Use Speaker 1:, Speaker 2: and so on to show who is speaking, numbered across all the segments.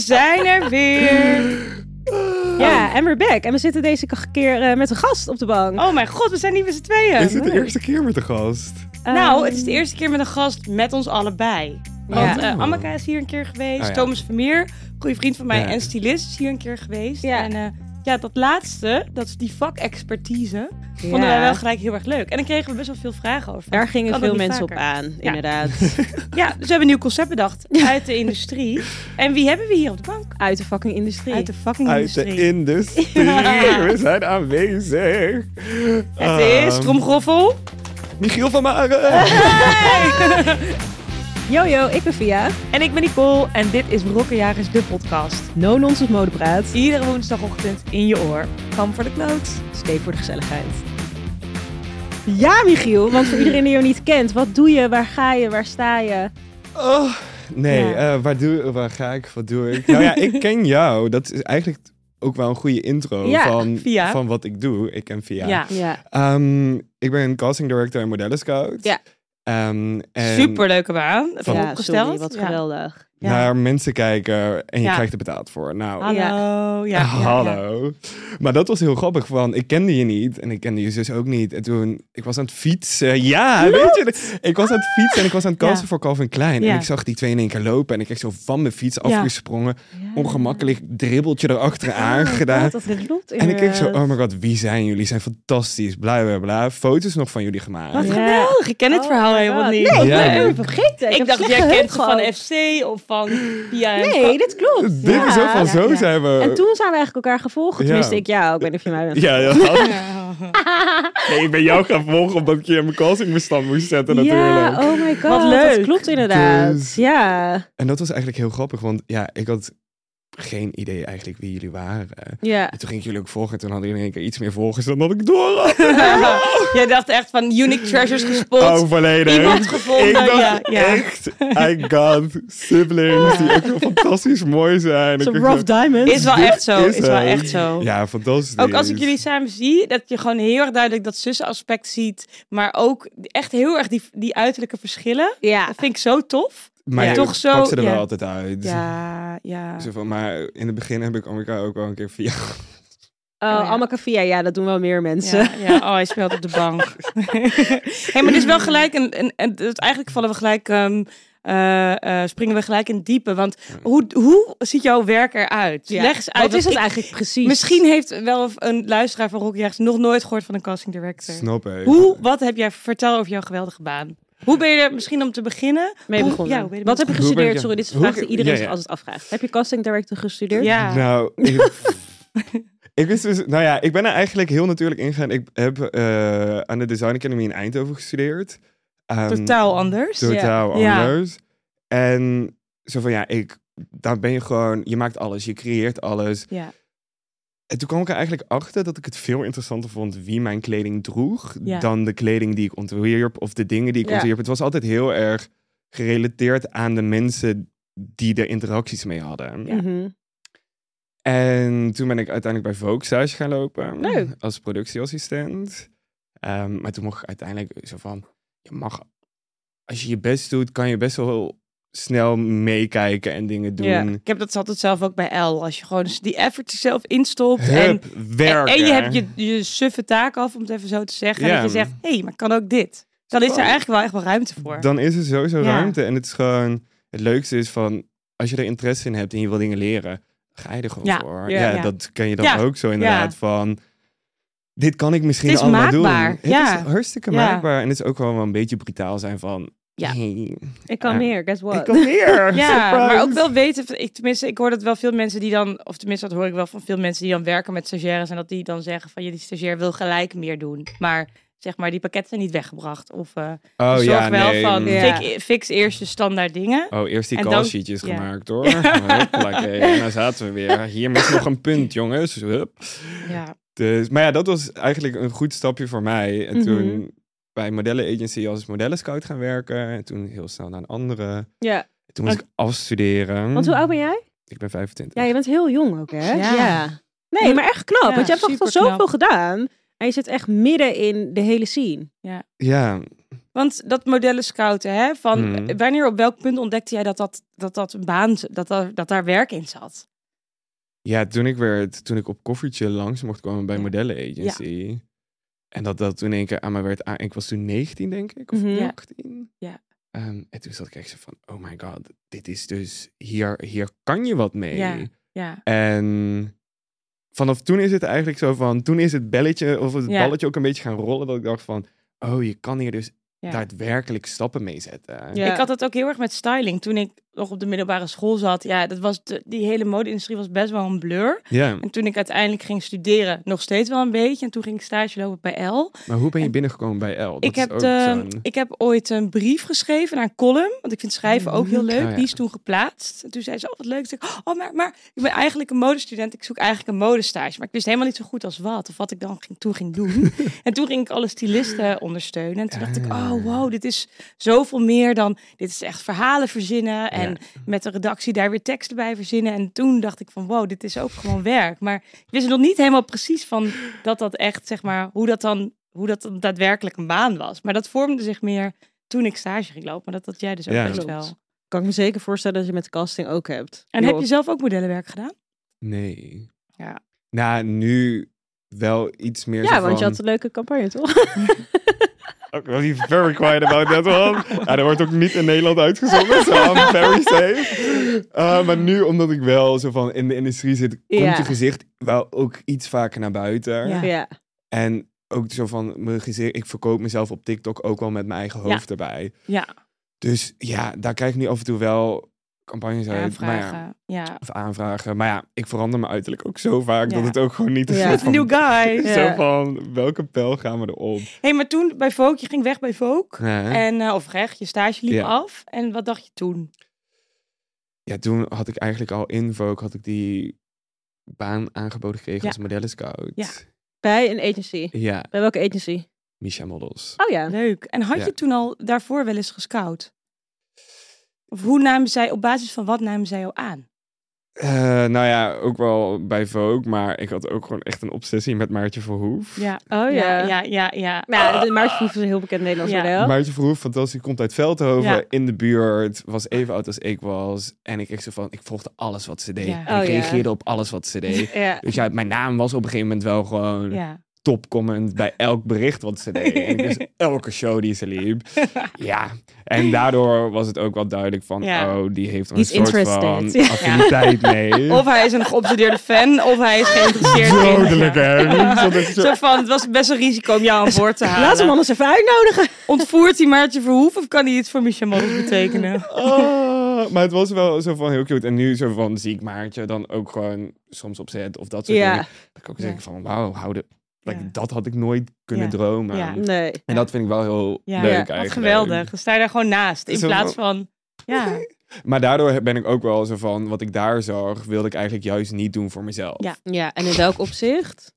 Speaker 1: zijn er weer. Ja, en we're back. En we zitten deze keer eh, met een gast op de bank.
Speaker 2: Oh mijn god, we zijn niet met z'n tweeën.
Speaker 3: Is het de eerste keer met de gast?
Speaker 1: Ehm,
Speaker 2: Nou, het is de eerste keer met een gast met ons allebei. Want
Speaker 1: Ja.
Speaker 2: eh, Amaka is hier een keer geweest,
Speaker 3: Oh, ja.
Speaker 2: Thomas Vermeer, goede vriend van mij
Speaker 3: Ja.
Speaker 2: en stylist, is hier een keer geweest.
Speaker 1: Ja.
Speaker 2: En eh, ja, dat laatste, dat is die vakexpertise,
Speaker 1: ja.
Speaker 2: vonden wij wel gelijk heel erg leuk. En dan kregen we best wel veel vragen over.
Speaker 4: Daar gingen
Speaker 2: Kan dat
Speaker 4: veel
Speaker 2: niet
Speaker 4: mensen op
Speaker 2: vaker?
Speaker 4: aan, inderdaad.
Speaker 2: Ja, dus we hebben een nieuw concept bedacht uit de industrie. En wie hebben we hier op de bank?
Speaker 1: Uit de fucking industrie.
Speaker 2: Uit de fucking
Speaker 3: Uit de
Speaker 2: industrie.
Speaker 3: industrie. We zijn aanwezig.
Speaker 2: Het is
Speaker 3: Ehm,
Speaker 2: Tromgroffel.
Speaker 3: Michiel van Maren.
Speaker 1: Yo, yo, ik ben Via.
Speaker 2: En ik ben Nicole en dit is Brokkenjagers, de podcast.
Speaker 1: No nonsense modepraat.
Speaker 2: Iedere woensdagochtend in je oor. Kom voor de kloot.
Speaker 1: Stay voor de gezelligheid. Ja, Michiel, want voor iedereen die jou niet kent, wat doe je, waar ga je, waar sta je?
Speaker 3: Oh, nee,
Speaker 1: Ja.
Speaker 3: eh, waar, doe, waar ga ik? Wat doe ik? Nou ja, ik ken jou. Dat is eigenlijk ook wel een goede intro
Speaker 1: Ja,
Speaker 3: van,
Speaker 2: Via.
Speaker 3: van wat ik doe. Ik ken Via.
Speaker 2: Ja.
Speaker 4: Ja.
Speaker 3: Ehm, ik ben casting director en modellenscout.
Speaker 4: Ja.
Speaker 3: Ehm, en
Speaker 2: Superleuke baan. Even
Speaker 3: Ja,
Speaker 4: Ja,
Speaker 2: opgesteld.
Speaker 4: sorry, wat
Speaker 2: Ja.
Speaker 4: geweldig.
Speaker 2: Ja.
Speaker 3: Naar mensen kijken en je
Speaker 2: Ja.
Speaker 3: krijgt er betaald voor. Nou,
Speaker 2: Hallo. Ja. ja, ja.
Speaker 3: Ah, Hallo. Maar dat was heel grappig, want ik kende je niet en ik kende je zus ook niet. En toen, ik was aan het fietsen. Ja, weet je. Ik was aan het fietsen en ik was aan het kansen
Speaker 2: Ja.
Speaker 3: voor Calvin Klein.
Speaker 2: Ja.
Speaker 3: En ik zag die twee in één keer lopen en ik kreeg zo van mijn fiets afgesprongen. Ongemakkelijk dribbeltje erachteraan gedaan.
Speaker 1: Dat klopt.
Speaker 3: En ik keek zo, oh my god, wie zijn jullie? Zijn fantastisch, bla bla bla. Foto's nog van jullie gemaakt.
Speaker 2: Wat
Speaker 1: Ja.
Speaker 2: geweldig. Ik ken het
Speaker 1: Oh
Speaker 2: verhaal
Speaker 1: my
Speaker 2: helemaal
Speaker 1: God.
Speaker 2: niet.
Speaker 1: Nee, ik
Speaker 3: Ja.
Speaker 1: ben even vergeten.
Speaker 2: Ik,
Speaker 1: heb
Speaker 2: dacht,
Speaker 1: slecht
Speaker 2: jij
Speaker 1: geheugen
Speaker 2: kent ze van
Speaker 1: gehad.
Speaker 2: FC of van via
Speaker 1: Nee, dit klopt.
Speaker 3: Dit is ook
Speaker 1: Ja.
Speaker 3: van, zo
Speaker 2: Ja.
Speaker 3: zijn we.
Speaker 1: En toen zijn we eigenlijk elkaar gevolgd.
Speaker 3: Eh, Ja.
Speaker 1: Tenminste, ik jou. Ik weet niet of je mij bent.
Speaker 3: Ja, ja. Nee, ik ben jou gaan volgen omdat ik je in mijn castingbestand moest zetten natuurlijk.
Speaker 1: Ja, oh my god.
Speaker 2: Wat leuk.
Speaker 1: Dat klopt inderdaad.
Speaker 3: Dus-
Speaker 1: Ja.
Speaker 3: En dat was eigenlijk heel grappig, want ja, ik had geen idee eigenlijk wie jullie waren.
Speaker 1: Ja.
Speaker 3: En toen ging ik jullie ook volgen en toen hadden jullie in één keer iets meer volgers dan dat ik door had.
Speaker 2: Jij dacht echt van Unique Treasures gespot.
Speaker 3: Oh, volledig.
Speaker 2: Iemand gevonden,
Speaker 3: Ik dacht
Speaker 2: ja, ja.
Speaker 3: echt, I got siblings die ook zo fantastisch mooi zijn. Ik
Speaker 1: Zo'n
Speaker 3: dacht
Speaker 1: rough
Speaker 3: zo,
Speaker 1: diamond.
Speaker 2: Is wel echt zo.
Speaker 3: is
Speaker 2: Is wel
Speaker 3: hem.
Speaker 2: echt zo.
Speaker 3: Ja, fantastisch.
Speaker 2: Ook als ik jullie samen zie, dat je gewoon heel erg duidelijk dat zussenaspect ziet. Maar ook echt heel erg die, die uiterlijke verschillen.
Speaker 1: Ja.
Speaker 2: Dat vind ik zo tof.
Speaker 3: Maar
Speaker 2: Ja.
Speaker 3: je
Speaker 2: toch zo-
Speaker 3: pakt ze er
Speaker 2: ja.
Speaker 3: wel altijd uit.
Speaker 2: Ja, ja.
Speaker 3: Zo van, maar in het begin heb ik Amerika ook wel een keer via...
Speaker 1: Oh,
Speaker 2: ja.
Speaker 1: Amaka Via. Ja, dat doen wel meer mensen.
Speaker 2: Ja, ja. Oh, hij speelt op de bank. hey, maar dit is wel gelijk. En, en, en dus eigenlijk vallen we gelijk. ehm, eh, eh, springen we gelijk in het diepe. Want hoe, hoe ziet jouw werk eruit?
Speaker 1: Ja.
Speaker 2: Leg eens uit.
Speaker 1: Wat is
Speaker 2: want
Speaker 1: het
Speaker 2: ik-
Speaker 1: eigenlijk precies?
Speaker 2: Misschien heeft wel een luisteraar van Rockjagers nog nooit gehoord van een casting director.
Speaker 3: Snap ik.
Speaker 2: Hoe, wat heb jij, vertel over jouw geweldige baan. Hoe ben je er misschien om te beginnen?
Speaker 1: mee
Speaker 2: Hoe-
Speaker 1: begonnen.
Speaker 2: ja, hoe ben je er
Speaker 1: Wat heb je
Speaker 3: begonnen?
Speaker 1: gestudeerd?
Speaker 3: Hoe
Speaker 1: Sorry,
Speaker 3: ben ik-
Speaker 1: dit is een
Speaker 3: Hoe
Speaker 1: vraag
Speaker 3: ik-
Speaker 1: die iedereen
Speaker 3: ja,
Speaker 1: zich
Speaker 3: ja.
Speaker 1: altijd afvraagt. Heb je casting director gestudeerd?
Speaker 2: Ja.
Speaker 3: Nou, ik, ik wist dus, nou ja, ik ben er eigenlijk heel natuurlijk ingegaan. Ik heb eh, aan de Design Academy in Eindhoven gestudeerd. Ehm,
Speaker 2: Totaal anders.
Speaker 3: Totaal
Speaker 2: Ja.
Speaker 3: anders. En zo van ja, ik, daar ben je gewoon, je maakt alles, je creëert alles.
Speaker 2: Ja.
Speaker 3: En toen kwam ik er eigenlijk achter dat ik het veel interessanter vond wie mijn kleding droeg
Speaker 2: Ja.
Speaker 3: dan de kleding die ik ontwierp of de dingen die ik
Speaker 1: Ja.
Speaker 3: ontwierp. Het was altijd heel erg gerelateerd aan de mensen die er interacties mee hadden.
Speaker 1: Mhm.
Speaker 3: En toen ben ik uiteindelijk bij Vogue thuis gaan lopen.
Speaker 1: Leuk.
Speaker 3: Als productieassistent. Ehm, maar toen mocht ik uiteindelijk zo van... Je mag... Als je je best doet, kan je best wel snel meekijken en dingen doen.
Speaker 2: Ja. Ik heb dat altijd zelf ook bij L. Als je gewoon die effort er zelf instopt. En
Speaker 3: Hup, werken.
Speaker 2: En je hebt je, je suffe taak af, om het even zo te zeggen.
Speaker 3: Ja.
Speaker 2: En dat je zegt, hé, maar kan ook dit. Dan is er eigenlijk wel echt wel ruimte voor.
Speaker 3: Dan is er sowieso
Speaker 2: Ja.
Speaker 3: ruimte. En het is gewoon... Het leukste is van... Als je er interesse in hebt en je wil dingen leren... Ga je er gewoon
Speaker 2: Ja.
Speaker 3: voor.
Speaker 2: Ja.
Speaker 3: Ja,
Speaker 2: Ja.
Speaker 3: dat ken je dan
Speaker 2: Ja.
Speaker 3: ook zo inderdaad. Van... Dit kan ik misschien
Speaker 2: Het is
Speaker 3: allemaal
Speaker 2: maakbaar.
Speaker 3: doen.
Speaker 2: Ja.
Speaker 3: Het is hartstikke
Speaker 2: Ja.
Speaker 3: maakbaar. En het is ook gewoon wel een beetje brutaal zijn van...
Speaker 2: Ja.
Speaker 3: hey,
Speaker 1: Ik kan
Speaker 3: Ja.
Speaker 1: meer, guess what?
Speaker 3: Ik kom hier.
Speaker 2: Ja,
Speaker 3: Surprise.
Speaker 2: maar ook wel weten. van- Ik, tenminste, ik hoor dat wel veel mensen die dan, of tenminste, dat hoor ik wel van veel mensen die dan werken met stagiaires. En dat die dan zeggen van je die stagiair wil gelijk meer doen. Maar zeg maar, die pakketten zijn niet weggebracht. Of eh,
Speaker 3: Oh
Speaker 2: zorg
Speaker 3: ja,
Speaker 2: wel
Speaker 3: nee.
Speaker 2: van
Speaker 1: Ja.
Speaker 2: fik- fix eerst je standaard dingen.
Speaker 3: Oh, eerst die
Speaker 2: En dan-
Speaker 3: callsheetjes
Speaker 2: ja.
Speaker 3: gemaakt hoor. Hoppakee. En daar zaten we weer. Hier mis nog een punt, jongens. Hup.
Speaker 2: Ja,
Speaker 3: Dus, maar ja, dat was eigenlijk een goed stapje voor mij. En
Speaker 1: Mhm.
Speaker 3: toen bij modellenagency als modellenscout gaan werken. En toen heel snel naar een andere. En
Speaker 1: Ja.
Speaker 3: toen moest ik afstuderen.
Speaker 1: Want hoe oud ben jij?
Speaker 3: Ik ben 25.
Speaker 1: Ja, je bent heel jong ook, hè?
Speaker 2: Ja.
Speaker 1: Nee, maar echt knap.
Speaker 2: Ja,
Speaker 1: want je hebt toch al
Speaker 2: superknap.
Speaker 1: zoveel gedaan. En je zit echt midden in de hele scene.
Speaker 3: Ja.
Speaker 2: Want dat modellen scouten, hè, van
Speaker 3: Mhm.
Speaker 2: wanneer op welk punt ontdekte jij dat dat, dat, dat een baan, dat, dat, dat daar werk in zat?
Speaker 3: Ja, toen ik weer, toen ik op koffietje langs mocht komen bij Modellen Agency. En dat dat toen in één keer aan mij werd aan. Ik was toen 19, denk ik, of
Speaker 1: Mhm. Ja.
Speaker 3: 18.
Speaker 2: Ja.
Speaker 3: Ehm, en toen zat ik echt zo van, oh my god, dit is dus, hier, hier kan je wat mee.
Speaker 2: Ja. Ja,
Speaker 3: En vanaf toen is het eigenlijk zo van, toen is het belletje of het
Speaker 2: Ja.
Speaker 3: balletje ook een beetje gaan rollen. Dat ik dacht van, oh, je kan hier dus
Speaker 2: Ja.
Speaker 3: daadwerkelijk stappen mee zetten.
Speaker 1: Ja.
Speaker 2: Ik had het ook heel erg met styling toen ik nog op de middelbare school zat. Ja, dat was de- die hele mode-industrie was best wel een blur.
Speaker 3: Ja,
Speaker 2: En toen ik uiteindelijk ging studeren, nog steeds wel een beetje. En toen ging ik stage lopen bij L.
Speaker 3: maar hoe ben je binnengekomen bij L? Dat
Speaker 2: Ik
Speaker 3: is
Speaker 2: heb,
Speaker 3: ook
Speaker 2: de-
Speaker 3: zo'n-
Speaker 2: ik heb ooit een brief geschreven naar een column. Want ik vind schrijven ook heel leuk.
Speaker 3: Oh ja.
Speaker 2: Die is toen geplaatst. En toen zei ze, oh wat leuk. Toen dacht ik, oh, maar, maar ik ben eigenlijk een modestudent. Ik zoek eigenlijk een modestage. Maar ik wist helemaal niet zo goed als wat. Of wat ik dan ging, toen ging doen. en toen ging ik alle stylisten ondersteunen. En toen dacht ik,
Speaker 3: Ah.
Speaker 2: oh wow, dit is zoveel meer dan... Dit is echt verhalen verzinnen. En
Speaker 3: Ja.
Speaker 2: met de redactie daar weer teksten bij verzinnen. En toen dacht ik van, wow, dit is ook gewoon werk. Maar ik wist nog niet helemaal precies van dat dat echt, zeg maar, hoe dat dan, hoe dat dan daadwerkelijk een baan was. Maar dat vormde zich meer toen ik stage ging lopen. Maar dat had jij dus ook
Speaker 3: Ja.
Speaker 2: best
Speaker 1: Klopt.
Speaker 2: wel.
Speaker 1: Kan ik me zeker voorstellen dat je met casting ook hebt.
Speaker 2: En
Speaker 1: Joh,
Speaker 2: heb je zelf ook modellenwerk gedaan?
Speaker 3: Nee.
Speaker 2: Ja.
Speaker 3: Nou, nu wel iets meer zo
Speaker 1: Ja, want je
Speaker 3: van-
Speaker 1: had een leuke campagne, toch?
Speaker 3: Ook was hij very quiet about that one. Ja, dat wordt ook niet in Nederland uitgezonden, so I'm very safe. Uh, maar nu, omdat ik wel zo van in de industrie zit, komt
Speaker 1: Ja.
Speaker 3: je gezicht wel ook iets vaker naar buiten.
Speaker 2: Ja.
Speaker 1: Ja.
Speaker 3: En ook zo van mijn gezicht, ik verkoop mezelf op TikTok ook wel met mijn eigen
Speaker 2: Ja.
Speaker 3: hoofd erbij.
Speaker 2: Ja,
Speaker 3: Dus ja, daar krijg ik nu af en toe wel campagnes uit. maar ja,
Speaker 2: aanvragen. Ja.
Speaker 3: of aanvragen. Maar ja, ik verander mijn uiterlijk ook zo vaak
Speaker 2: Ja.
Speaker 3: dat het ook gewoon niet is.
Speaker 1: Ja.
Speaker 3: zo
Speaker 1: Met
Speaker 2: With
Speaker 3: van-
Speaker 2: new guy.
Speaker 1: Ja.
Speaker 3: Zo van, welke pijl gaan we erop?
Speaker 2: hey, maar toen bij Vogue, je ging weg bij Vogue. En, eh, of recht, je stage liep
Speaker 3: Ja.
Speaker 2: af. En wat dacht je toen?
Speaker 3: Ja, toen had ik eigenlijk al in Vogue, had ik die baan aangeboden gekregen
Speaker 2: Ja.
Speaker 3: als modellenscout.
Speaker 2: Ja.
Speaker 1: Bij een agency.
Speaker 3: Ja,
Speaker 1: Bij welke agency?
Speaker 3: Misha Models.
Speaker 1: Oh ja.
Speaker 2: Leuk. En had
Speaker 3: Ja.
Speaker 2: je toen al daarvoor wel eens gescout? Of hoe namen zij, op basis van wat namen zij jou aan?
Speaker 3: Eh, nou ja, ook wel bij Vogue, maar ik had ook gewoon echt een obsessie met Maartje Verhoef.
Speaker 1: Oh ja.
Speaker 2: ja, ja, ja. ja.
Speaker 1: Nou, de Maartje Verhoef is een heel bekend Nederlands
Speaker 2: Ja.
Speaker 1: model.
Speaker 3: Maartje Verhoef, fantastisch, komt uit Veldhoven,
Speaker 2: Ja.
Speaker 3: in de buurt, was even oud als ik was. En ik kreeg zo van, ik volgde alles wat ze deed.
Speaker 2: Ja.
Speaker 3: En ik
Speaker 1: Oh ja.
Speaker 3: reageerde op alles wat ze deed.
Speaker 1: Ja.
Speaker 3: Dus ja, mijn naam was op een gegeven moment wel gewoon
Speaker 2: ja.
Speaker 3: topcomment bij elk bericht wat ze deed. En dus elke show die ze liep. Ja, en daardoor was het ook wel duidelijk van,
Speaker 2: Ja.
Speaker 3: oh, die heeft er een
Speaker 1: Die is
Speaker 3: soort van
Speaker 1: interested. Ja.
Speaker 3: affiniteit mee.
Speaker 2: Of hij is een geobsedeerde fan, of hij is geïnteresseerd in.
Speaker 3: Dodelijk, hè? Zodat het zo-
Speaker 2: Zo van, het was best een risico om jou aan boord te halen.
Speaker 1: Laat hem anders even uitnodigen.
Speaker 2: Ontvoert hij Maartje Verhoef of kan hij iets voor Michel Models betekenen?
Speaker 3: Ah, maar het was wel zo van heel cute. En nu zo van zie ik Maartje dan ook gewoon soms opzet of dat soort
Speaker 1: Ja.
Speaker 3: dingen. Dat ik ook
Speaker 2: Ja.
Speaker 3: denk van wauw, houden. Like,
Speaker 2: Ja.
Speaker 3: Dat had ik nooit kunnen
Speaker 2: Ja.
Speaker 3: dromen.
Speaker 2: Ja.
Speaker 1: Nee.
Speaker 3: En dat vind ik wel heel
Speaker 2: Ja.
Speaker 3: leuk
Speaker 1: Ja, wat
Speaker 3: eigenlijk.
Speaker 2: Wat geweldig. Dan sta je daar gewoon naast. In
Speaker 3: Zo-
Speaker 2: plaats van, ja,
Speaker 3: Maar daardoor ben ik ook wel zo van, wat ik daar zag, wilde ik eigenlijk juist niet doen voor mezelf.
Speaker 2: Ja.
Speaker 1: Ja, en in welk opzicht?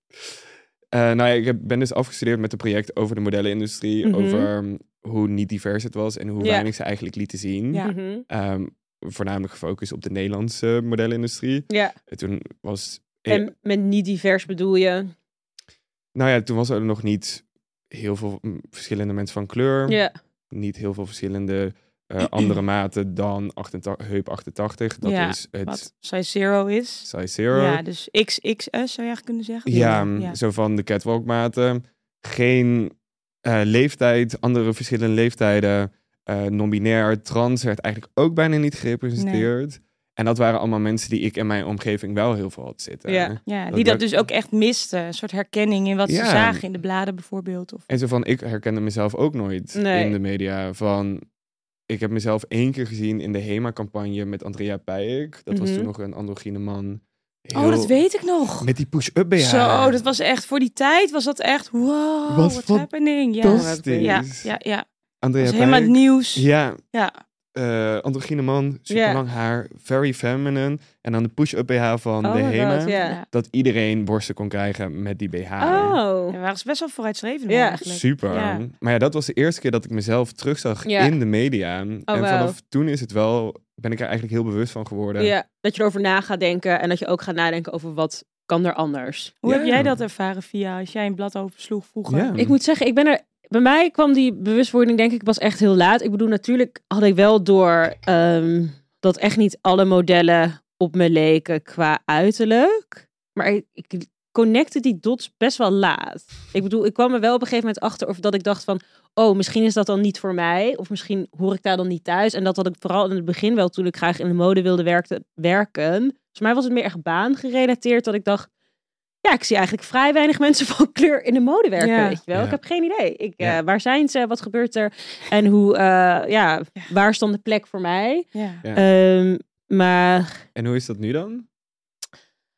Speaker 3: Eh, nou ja, ik heb, ben dus afgestudeerd met een project over de modellenindustrie,
Speaker 1: Mhm.
Speaker 3: over mm, hoe niet divers het was en hoe
Speaker 1: Ja.
Speaker 3: weinig ze eigenlijk lieten zien.
Speaker 2: Ja.
Speaker 1: Mhm.
Speaker 3: Ehm, voornamelijk gefocust op de Nederlandse modellenindustrie.
Speaker 1: Ja.
Speaker 3: En toen was,
Speaker 1: En met niet divers bedoel je?
Speaker 3: nou ja, toen was er nog niet heel veel mm, verschillende mensen van kleur,
Speaker 1: Ja.
Speaker 3: niet heel veel verschillende eh, andere maten dan 88, heup 88. Dat
Speaker 2: Ja,
Speaker 3: is het
Speaker 2: wat size zero is.
Speaker 3: size zero.
Speaker 2: Ja, dus XXS zou je eigenlijk kunnen zeggen.
Speaker 3: Ja,
Speaker 2: Ja.
Speaker 3: mm, zo van de catwalkmaten. Geen eh, leeftijd, andere verschillende leeftijden. eh, Non-binair, trans werd eigenlijk ook bijna niet gerepresenteerd. En dat waren allemaal mensen die ik in mijn omgeving wel heel veel had zitten.
Speaker 1: Ja.
Speaker 2: Ja,
Speaker 3: Dat
Speaker 2: die dat
Speaker 3: werkt-
Speaker 2: dus ook echt misten. Een soort herkenning in wat ze
Speaker 3: Ja.
Speaker 2: zagen in de bladen bijvoorbeeld. Of...
Speaker 3: En zo van, ik herkende mezelf ook nooit
Speaker 1: Nee.
Speaker 3: in de media. Van, ik heb mezelf één keer gezien in de HEMA-campagne met Andrea Pijek. Dat was
Speaker 1: Mhm.
Speaker 3: toen nog een androgyne man.
Speaker 2: Oh, dat
Speaker 3: Heel-
Speaker 2: weet ik nog.
Speaker 3: Met die push-up BH.
Speaker 2: Zo, dat was echt, voor die tijd was dat echt, wow,
Speaker 3: Wat
Speaker 2: what's happening. Ja,
Speaker 3: fantastisch.
Speaker 2: ja, ja, ja.
Speaker 3: Andrea
Speaker 2: Dat is helemaal het
Speaker 3: Pijck.
Speaker 2: nieuws.
Speaker 3: Ja,
Speaker 2: Ja.
Speaker 3: eh androgyne man, super
Speaker 1: Ja.
Speaker 3: lang haar, very feminine. En dan de push-up BH van
Speaker 1: Oh
Speaker 3: de
Speaker 1: my
Speaker 3: HEMA.
Speaker 1: God, ja.
Speaker 2: Ja.
Speaker 3: Dat iedereen borsten kon krijgen met die BH.
Speaker 1: Oh.
Speaker 2: We waren best wel vooruitstrevend
Speaker 1: Ja.
Speaker 2: eigenlijk.
Speaker 3: Super.
Speaker 2: Ja.
Speaker 3: Maar ja, dat was de eerste keer dat ik mezelf terug zag
Speaker 1: Ja.
Speaker 3: in de media.
Speaker 2: Oh,
Speaker 3: en
Speaker 1: wauw.
Speaker 3: vanaf toen is het wel, ben ik er eigenlijk heel bewust van geworden.
Speaker 1: Ja, dat je erover na gaat denken en dat je ook gaat nadenken over wat kan er anders.
Speaker 2: Hoe
Speaker 3: Ja.
Speaker 2: heb jij dat ervaren via als jij een blad oversloeg vroeger?
Speaker 3: Ja.
Speaker 1: Ik moet zeggen, ik ben er bij mij kwam die bewustwording denk ik pas echt heel laat. Ik bedoel, natuurlijk had ik wel door ehm, dat echt niet alle modellen op me leken qua uiterlijk. Maar ik, ik connecte die dots best wel laat. Ik bedoel, ik kwam er wel op een gegeven moment achter of dat ik dacht van... Oh, misschien is dat dan niet voor mij. Of misschien hoor ik daar dan niet thuis. En dat had ik vooral in het begin wel toen ik graag in de mode wilde werkte, werken. Volgens mij was het meer echt baangerelateerd dat ik dacht... Ja, ik zie eigenlijk vrij weinig mensen van kleur in de mode werken.
Speaker 2: Ja.
Speaker 1: Weet je wel?
Speaker 3: Ja.
Speaker 1: Ik heb geen idee. Ik, eh,
Speaker 3: Ja.
Speaker 1: waar zijn ze? Wat gebeurt er? En hoe, eh, ja, waar is dan de plek voor mij?
Speaker 2: Ja.
Speaker 3: Ja.
Speaker 1: Ehm, maar
Speaker 3: En hoe is dat nu dan?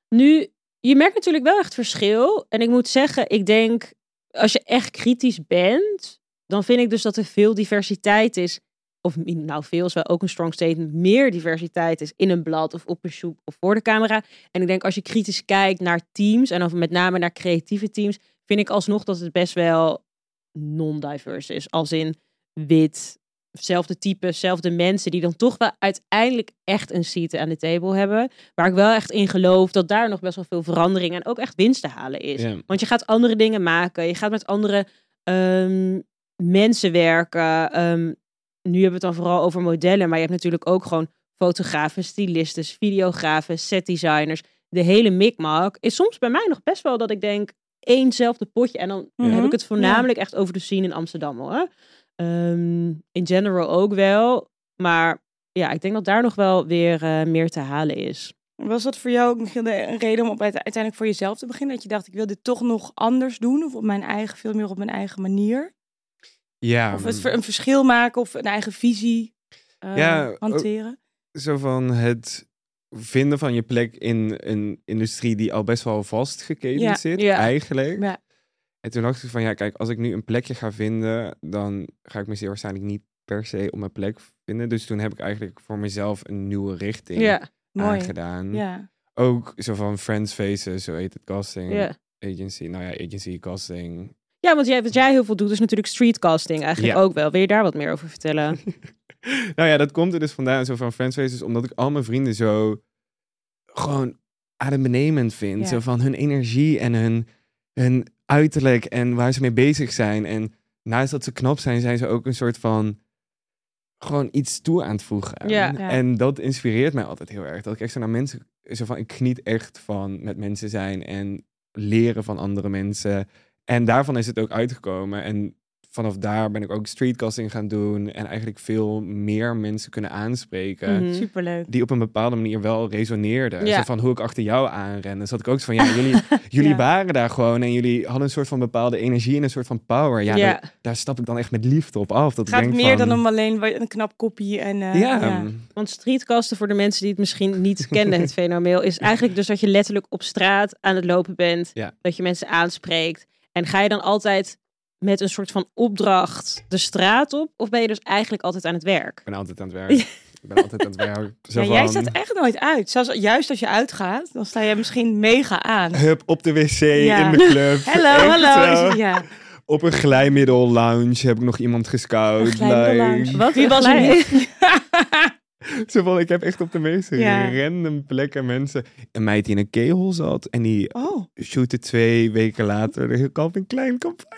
Speaker 1: nu, je merkt natuurlijk wel echt verschil. En ik moet zeggen, ik denk, als je echt kritisch bent, dan vind ik dus dat er veel diversiteit is. Of mi- nou, veel is wel ook een strong statement. Meer diversiteit is in een blad of op een shoot of voor de camera. En ik denk, als je kritisch kijkt naar teams en of met name naar creatieve teams, vind ik alsnog dat het best wel non-diverse is. Als in wit, zelfde type, zelfde mensen, die dan toch wel uiteindelijk echt een seat aan de table hebben waar ik wel echt in geloof dat daar nog best wel veel verandering en ook echt winst te halen is.
Speaker 3: Ja.
Speaker 1: Want je gaat andere dingen maken, je gaat met andere ehm, mensen werken. Ehm, nu hebben we het dan vooral over modellen, maar je hebt natuurlijk ook gewoon fotografen, stylisten, videografen, setdesigners. De hele mikmak is soms bij mij nog best wel dat ik denk éénzelfde potje. En dan
Speaker 2: Mhm.
Speaker 1: heb ik het voornamelijk echt over de scene in Amsterdam hoor. Ehm, in general ook wel, maar ja, ik denk dat daar nog wel weer eh, meer te halen is.
Speaker 2: Was dat voor jou ook nog een reden om op, uite- uiteindelijk voor jezelf te beginnen? Dat je dacht, ik wil dit toch nog anders doen of op mijn eigen, veel meer op mijn eigen manier?
Speaker 3: Ja,
Speaker 2: of het, ver- een verschil maken of een eigen visie eh,
Speaker 3: Ja, ook-
Speaker 2: hanteren?
Speaker 3: zo van het vinden van je plek in een industrie die al best wel vastgeketend
Speaker 2: Ja,
Speaker 3: zit,
Speaker 1: ja.
Speaker 3: eigenlijk.
Speaker 2: Ja.
Speaker 3: En toen dacht ik van, ja, kijk, als ik nu een plekje ga vinden, dan ga ik me zeer waarschijnlijk niet per se op mijn plek vinden. Dus toen heb ik eigenlijk voor mezelf een nieuwe richting
Speaker 2: Mooi.
Speaker 3: aangedaan.
Speaker 2: Ja.
Speaker 3: Ook zo van Friends Faces, zo heet het, casting,
Speaker 1: ja.
Speaker 3: agency. Nou ja, agency, casting.
Speaker 1: Ja, want jij, wat jij heel veel doet is natuurlijk streetcasting eigenlijk
Speaker 3: Ja.
Speaker 1: ook wel. Wil je daar wat meer over vertellen?
Speaker 3: nou ja, dat komt er dus vandaan, zo van Friends Faces, omdat ik al mijn vrienden zo gewoon adembenemend vind.
Speaker 2: Ja.
Speaker 3: Zo van hun energie en hun, hun uiterlijk en waar ze mee bezig zijn. En naast dat ze knap zijn, zijn ze ook een soort van gewoon iets toe aan het voegen.
Speaker 1: Ja.
Speaker 2: Ja.
Speaker 3: En dat inspireert mij altijd heel erg. Dat ik echt zo naar mensen, zo van ik geniet echt van met mensen zijn en leren van andere mensen. En daarvan is het ook uitgekomen. En vanaf daar ben ik ook streetcasting gaan doen. En eigenlijk veel meer mensen kunnen aanspreken.
Speaker 1: Mhm.
Speaker 2: Superleuk.
Speaker 3: Die op een bepaalde manier wel resoneerden.
Speaker 1: Ja.
Speaker 3: Zo van hoe ik achter jou aanren. Zat ik ook zo van ja, jullie, jullie
Speaker 2: Ja.
Speaker 3: waren daar gewoon. En jullie hadden een soort van bepaalde energie en een soort van power. Ja,
Speaker 1: Ja.
Speaker 3: Daar, daar stap ik dan echt met liefde op af. Dat
Speaker 2: Het gaat
Speaker 3: ik denk
Speaker 2: meer
Speaker 3: van,
Speaker 2: dan om alleen wa- een knap kopie en... eh,
Speaker 3: Ja,
Speaker 2: ja.
Speaker 1: Want streetcasten, voor de mensen die het misschien niet kennen, het fenomeen, is eigenlijk dus dat je letterlijk op straat aan het lopen bent.
Speaker 3: Ja.
Speaker 1: Dat je mensen aanspreekt. En ga je dan altijd met een soort van opdracht de straat op? Of ben je dus eigenlijk altijd aan het werk?
Speaker 3: Ik ben altijd aan het werk. Ik ben altijd aan het werk. Zo
Speaker 2: Ja, jij
Speaker 3: van,
Speaker 2: staat echt nooit uit. Zelfs, juist als je uitgaat, dan sta jij misschien mega aan.
Speaker 3: Hup, op de wc,
Speaker 2: Ja.
Speaker 3: in de club.
Speaker 2: Hallo,
Speaker 3: Echt
Speaker 2: hallo.
Speaker 3: zo.
Speaker 2: Ja.
Speaker 3: Op een glijmiddel lounge heb ik nog iemand gescout.
Speaker 2: Een glijmiddel lounge.
Speaker 1: Wat
Speaker 2: Wie was er
Speaker 1: het?
Speaker 2: niet?
Speaker 3: Zo van, ik heb echt op de meest
Speaker 2: Ja.
Speaker 3: random plekken mensen. Een meid die in een kegel zat en die
Speaker 2: Oh.
Speaker 3: shootte twee weken later de kamp in klein kamp.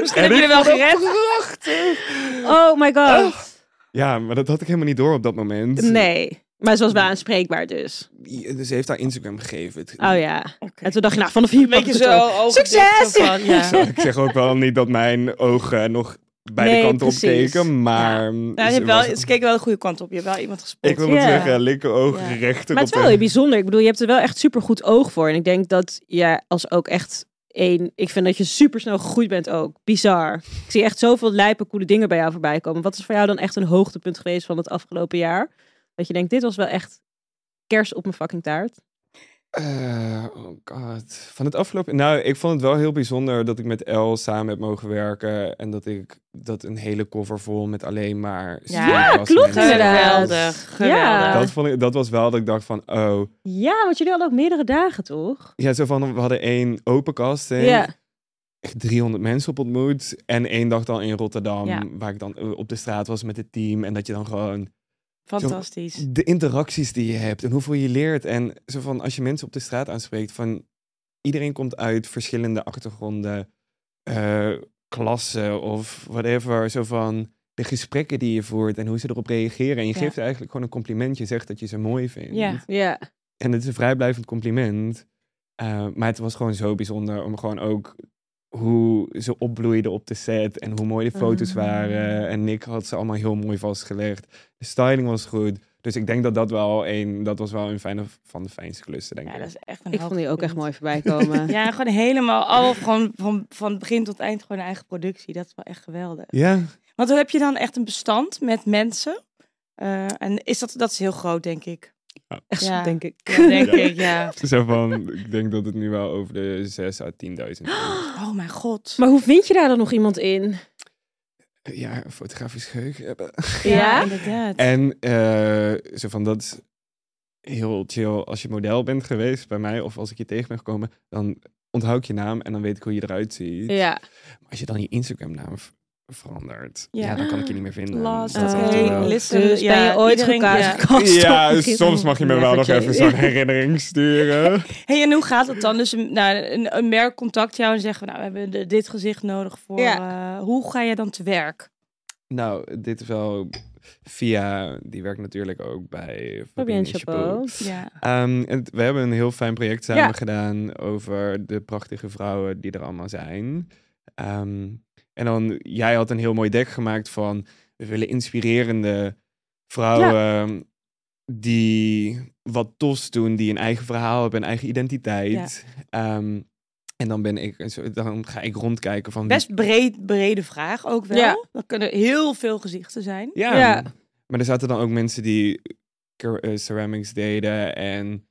Speaker 2: Misschien
Speaker 3: En
Speaker 2: heb je er
Speaker 3: ik
Speaker 2: wel
Speaker 3: vond dat
Speaker 2: gered.
Speaker 1: Oh my god.
Speaker 3: Ja, maar dat had ik helemaal niet door op dat moment.
Speaker 1: Nee. Maar ze was wel aanspreekbaar dus.
Speaker 3: Ja, Dus ze heeft haar Instagram gegeven. Het-
Speaker 1: Oh ja. En toen dacht je, nou, vanaf hier
Speaker 2: Een beetje
Speaker 1: pak ik het
Speaker 2: zo.
Speaker 1: op. Succes!
Speaker 3: Zo, ik zeg ook wel niet dat mijn ogen nog beide
Speaker 1: Nee,
Speaker 3: kanten
Speaker 1: precies.
Speaker 3: opkeken, maar...
Speaker 2: Nou, je
Speaker 3: ze
Speaker 2: hebt wel,
Speaker 3: was-
Speaker 2: ze keken wel de goede kant op. Je hebt wel iemand gespot.
Speaker 3: Ik wil het
Speaker 1: Ja.
Speaker 3: zeggen, linker oog,
Speaker 2: Ja.
Speaker 3: rechter
Speaker 1: Maar
Speaker 3: op
Speaker 1: het is wel heel bijzonder. Ik bedoel, je hebt er wel echt super goed oog voor. En ik denk dat jij als ook echt één... Ik vind dat je super snel gegroeid bent ook. Bizar. Ik zie echt zoveel lijpe, coole dingen bij jou voorbij komen. Wat is voor jou dan echt een hoogtepunt geweest van het afgelopen jaar? Dat je denkt, dit was wel echt kers op mijn fucking taart.
Speaker 3: Eh, oh god. Van het afgelopen. Nou, ik vond het wel heel bijzonder dat ik met El samen heb mogen werken. En dat ik dat een hele cover vol met alleen maar. streetcast
Speaker 1: klopt
Speaker 3: mensen.
Speaker 1: inderdaad.
Speaker 2: Geweldig. Geweldig.
Speaker 1: Ja.
Speaker 3: Dat, vond ik, dat was wel dat ik dacht van, oh.
Speaker 1: Ja, want jullie hadden ook meerdere dagen, toch?
Speaker 3: Ja, zo van, we hadden één open casting.
Speaker 1: Ja.
Speaker 3: Echt 300 mensen op ontmoet. En één dag dan in Rotterdam,
Speaker 2: Ja.
Speaker 3: waar ik dan eh, op de straat was met het team. En dat je dan gewoon
Speaker 2: Fantastisch.
Speaker 3: de interacties die je hebt en hoeveel je leert. En zo van, als je mensen op de straat aanspreekt van... iedereen komt uit verschillende achtergronden, eh, klassen of whatever. Zo van de gesprekken die je voert en hoe ze erop reageren. En je
Speaker 2: Ja.
Speaker 3: geeft eigenlijk gewoon een compliment. Je zegt dat je ze mooi vindt.
Speaker 2: Ja.
Speaker 1: Ja.
Speaker 3: En het is een vrijblijvend compliment. Eh, maar het was gewoon zo bijzonder om gewoon ook hoe ze opbloeiden op de set en hoe mooi de foto's
Speaker 1: Ah.
Speaker 3: waren. En Nick had ze allemaal heel mooi vastgelegd. De styling was goed. Dus ik denk dat dat wel een, dat was wel een fijne van de fijnste klussen, denk
Speaker 2: Ja,
Speaker 3: ik.
Speaker 2: dat is echt een
Speaker 1: Ik vond die ook echt
Speaker 2: hoogtepunt.
Speaker 1: mooi voorbij komen.
Speaker 2: Ja, gewoon helemaal al gewoon van, van begin tot eind gewoon een eigen productie. Dat is wel echt geweldig.
Speaker 3: Ja,
Speaker 2: Want dan heb je dan echt een bestand met mensen. Eh, en is dat, dat is heel groot, denk ik.
Speaker 1: Echt zo,
Speaker 2: Ja.
Speaker 1: denk ik.
Speaker 2: Ja, denk ik, ja.
Speaker 3: zo van, ik denk dat het nu wel over de 6 à 10.000 is.
Speaker 2: Oh mijn god.
Speaker 1: Maar hoe vind je daar dan nog iemand in?
Speaker 3: Ja, fotografisch geheugen hebben.
Speaker 1: Ja?
Speaker 2: inderdaad.
Speaker 3: En eh, zo van dat is heel chill als je model bent geweest bij mij of als ik je tegen ben gekomen, dan onthoud ik je naam en dan weet ik hoe je eruit ziet.
Speaker 1: Ja.
Speaker 3: Maar als je dan je Instagram naam verandert, ja.
Speaker 2: Ja.
Speaker 3: dan kan ik je niet meer vinden.
Speaker 2: Last,
Speaker 3: Dat is
Speaker 1: oké,
Speaker 3: echt wel-
Speaker 2: list- Listen,
Speaker 1: dus
Speaker 2: ja,
Speaker 1: ben je ooit
Speaker 2: iedereen-
Speaker 1: elkaar
Speaker 2: ja.
Speaker 1: gekast?
Speaker 3: Ja,
Speaker 1: Of misschien-
Speaker 3: soms mag je me wel
Speaker 1: Never
Speaker 3: nog even
Speaker 1: change.
Speaker 3: zo'n herinnering sturen.
Speaker 2: Hey, en hoe gaat het dan? Dus een- nou, een, een merk contact jou en zeggen we, nou, we hebben de- dit gezicht nodig voor... eh, hoe ga je dan te werk?
Speaker 3: nou, dit is wel via, die werkt natuurlijk ook bij
Speaker 1: Fabienne Chapeau.
Speaker 2: Ja.
Speaker 3: Ehm, en we hebben een heel fijn project samen
Speaker 1: Ja.
Speaker 3: gedaan over de prachtige vrouwen die er allemaal zijn. Ehm, en dan, jij had een heel mooi dek gemaakt van, we willen inspirerende vrouwen die wat tofs doen, die een eigen verhaal hebben, een eigen identiteit. Ehm, en dan ben ik, een soort- dan ga ik rondkijken van... wie-
Speaker 2: Best breed, brede vraag ook wel.
Speaker 1: Ja.
Speaker 2: Dat kunnen heel veel gezichten zijn.
Speaker 3: Ja.
Speaker 1: Ja.
Speaker 3: Maar er zaten dan ook mensen die ker- eh, ceramics deden en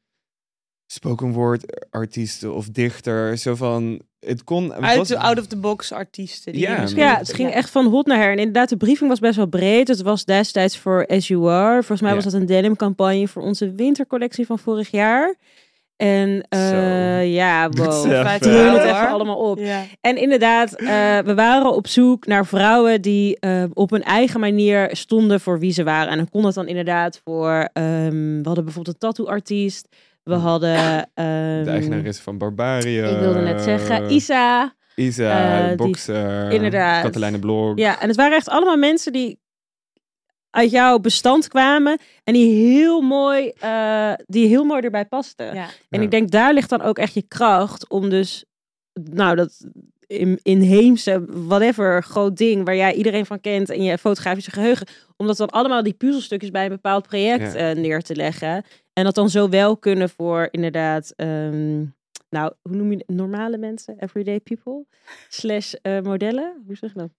Speaker 3: spoken word artiesten of dichters. Zo van, het kon... het
Speaker 2: Uit
Speaker 3: was-
Speaker 2: de out-of-the-box artiesten. die
Speaker 3: Ja.
Speaker 2: je misschien-
Speaker 1: Ja, het ging echt van hot naar her. En inderdaad, de briefing was best wel breed. Het was destijds voor As You Are. Volgens mij
Speaker 3: Ja.
Speaker 1: was dat een denimcampagne voor onze wintercollectie van vorig jaar. En eh,
Speaker 3: Zo.
Speaker 1: ja, wow.
Speaker 3: Zo.
Speaker 2: Feit
Speaker 3: Even-
Speaker 1: Dreun het
Speaker 2: wel,
Speaker 1: even
Speaker 2: hoor.
Speaker 1: allemaal op.
Speaker 2: Ja.
Speaker 1: En inderdaad, eh, we waren op zoek naar vrouwen die eh, op hun eigen manier stonden voor wie ze waren. En dan kon dat dan inderdaad voor. ehm, we hadden bijvoorbeeld een tattoo-artiest. We hadden. ehm,
Speaker 3: De eh, eigenares van Barbaria.
Speaker 1: ik wilde net zeggen, Isa. eh,
Speaker 3: Isa,
Speaker 1: die-
Speaker 3: Boxer.
Speaker 1: inderdaad.
Speaker 3: Katelijne Blok.
Speaker 1: Ja, en het waren echt allemaal mensen die uit jouw bestand kwamen en die heel mooi, eh, die heel mooi erbij pasten.
Speaker 2: Ja.
Speaker 1: En
Speaker 3: Ja.
Speaker 1: ik denk daar ligt dan ook echt je kracht om dus, nou dat in- inheemse, whatever, groot ding waar jij iedereen van kent en je fotografische geheugen, om dat dan allemaal die puzzelstukjes bij een bepaald project
Speaker 3: Ja.
Speaker 1: eh, neer te leggen. En dat dan zo wel kunnen voor inderdaad, ehm, nou hoe noem je het? normale mensen, everyday people, slash eh, modellen, hoe zeg je dat?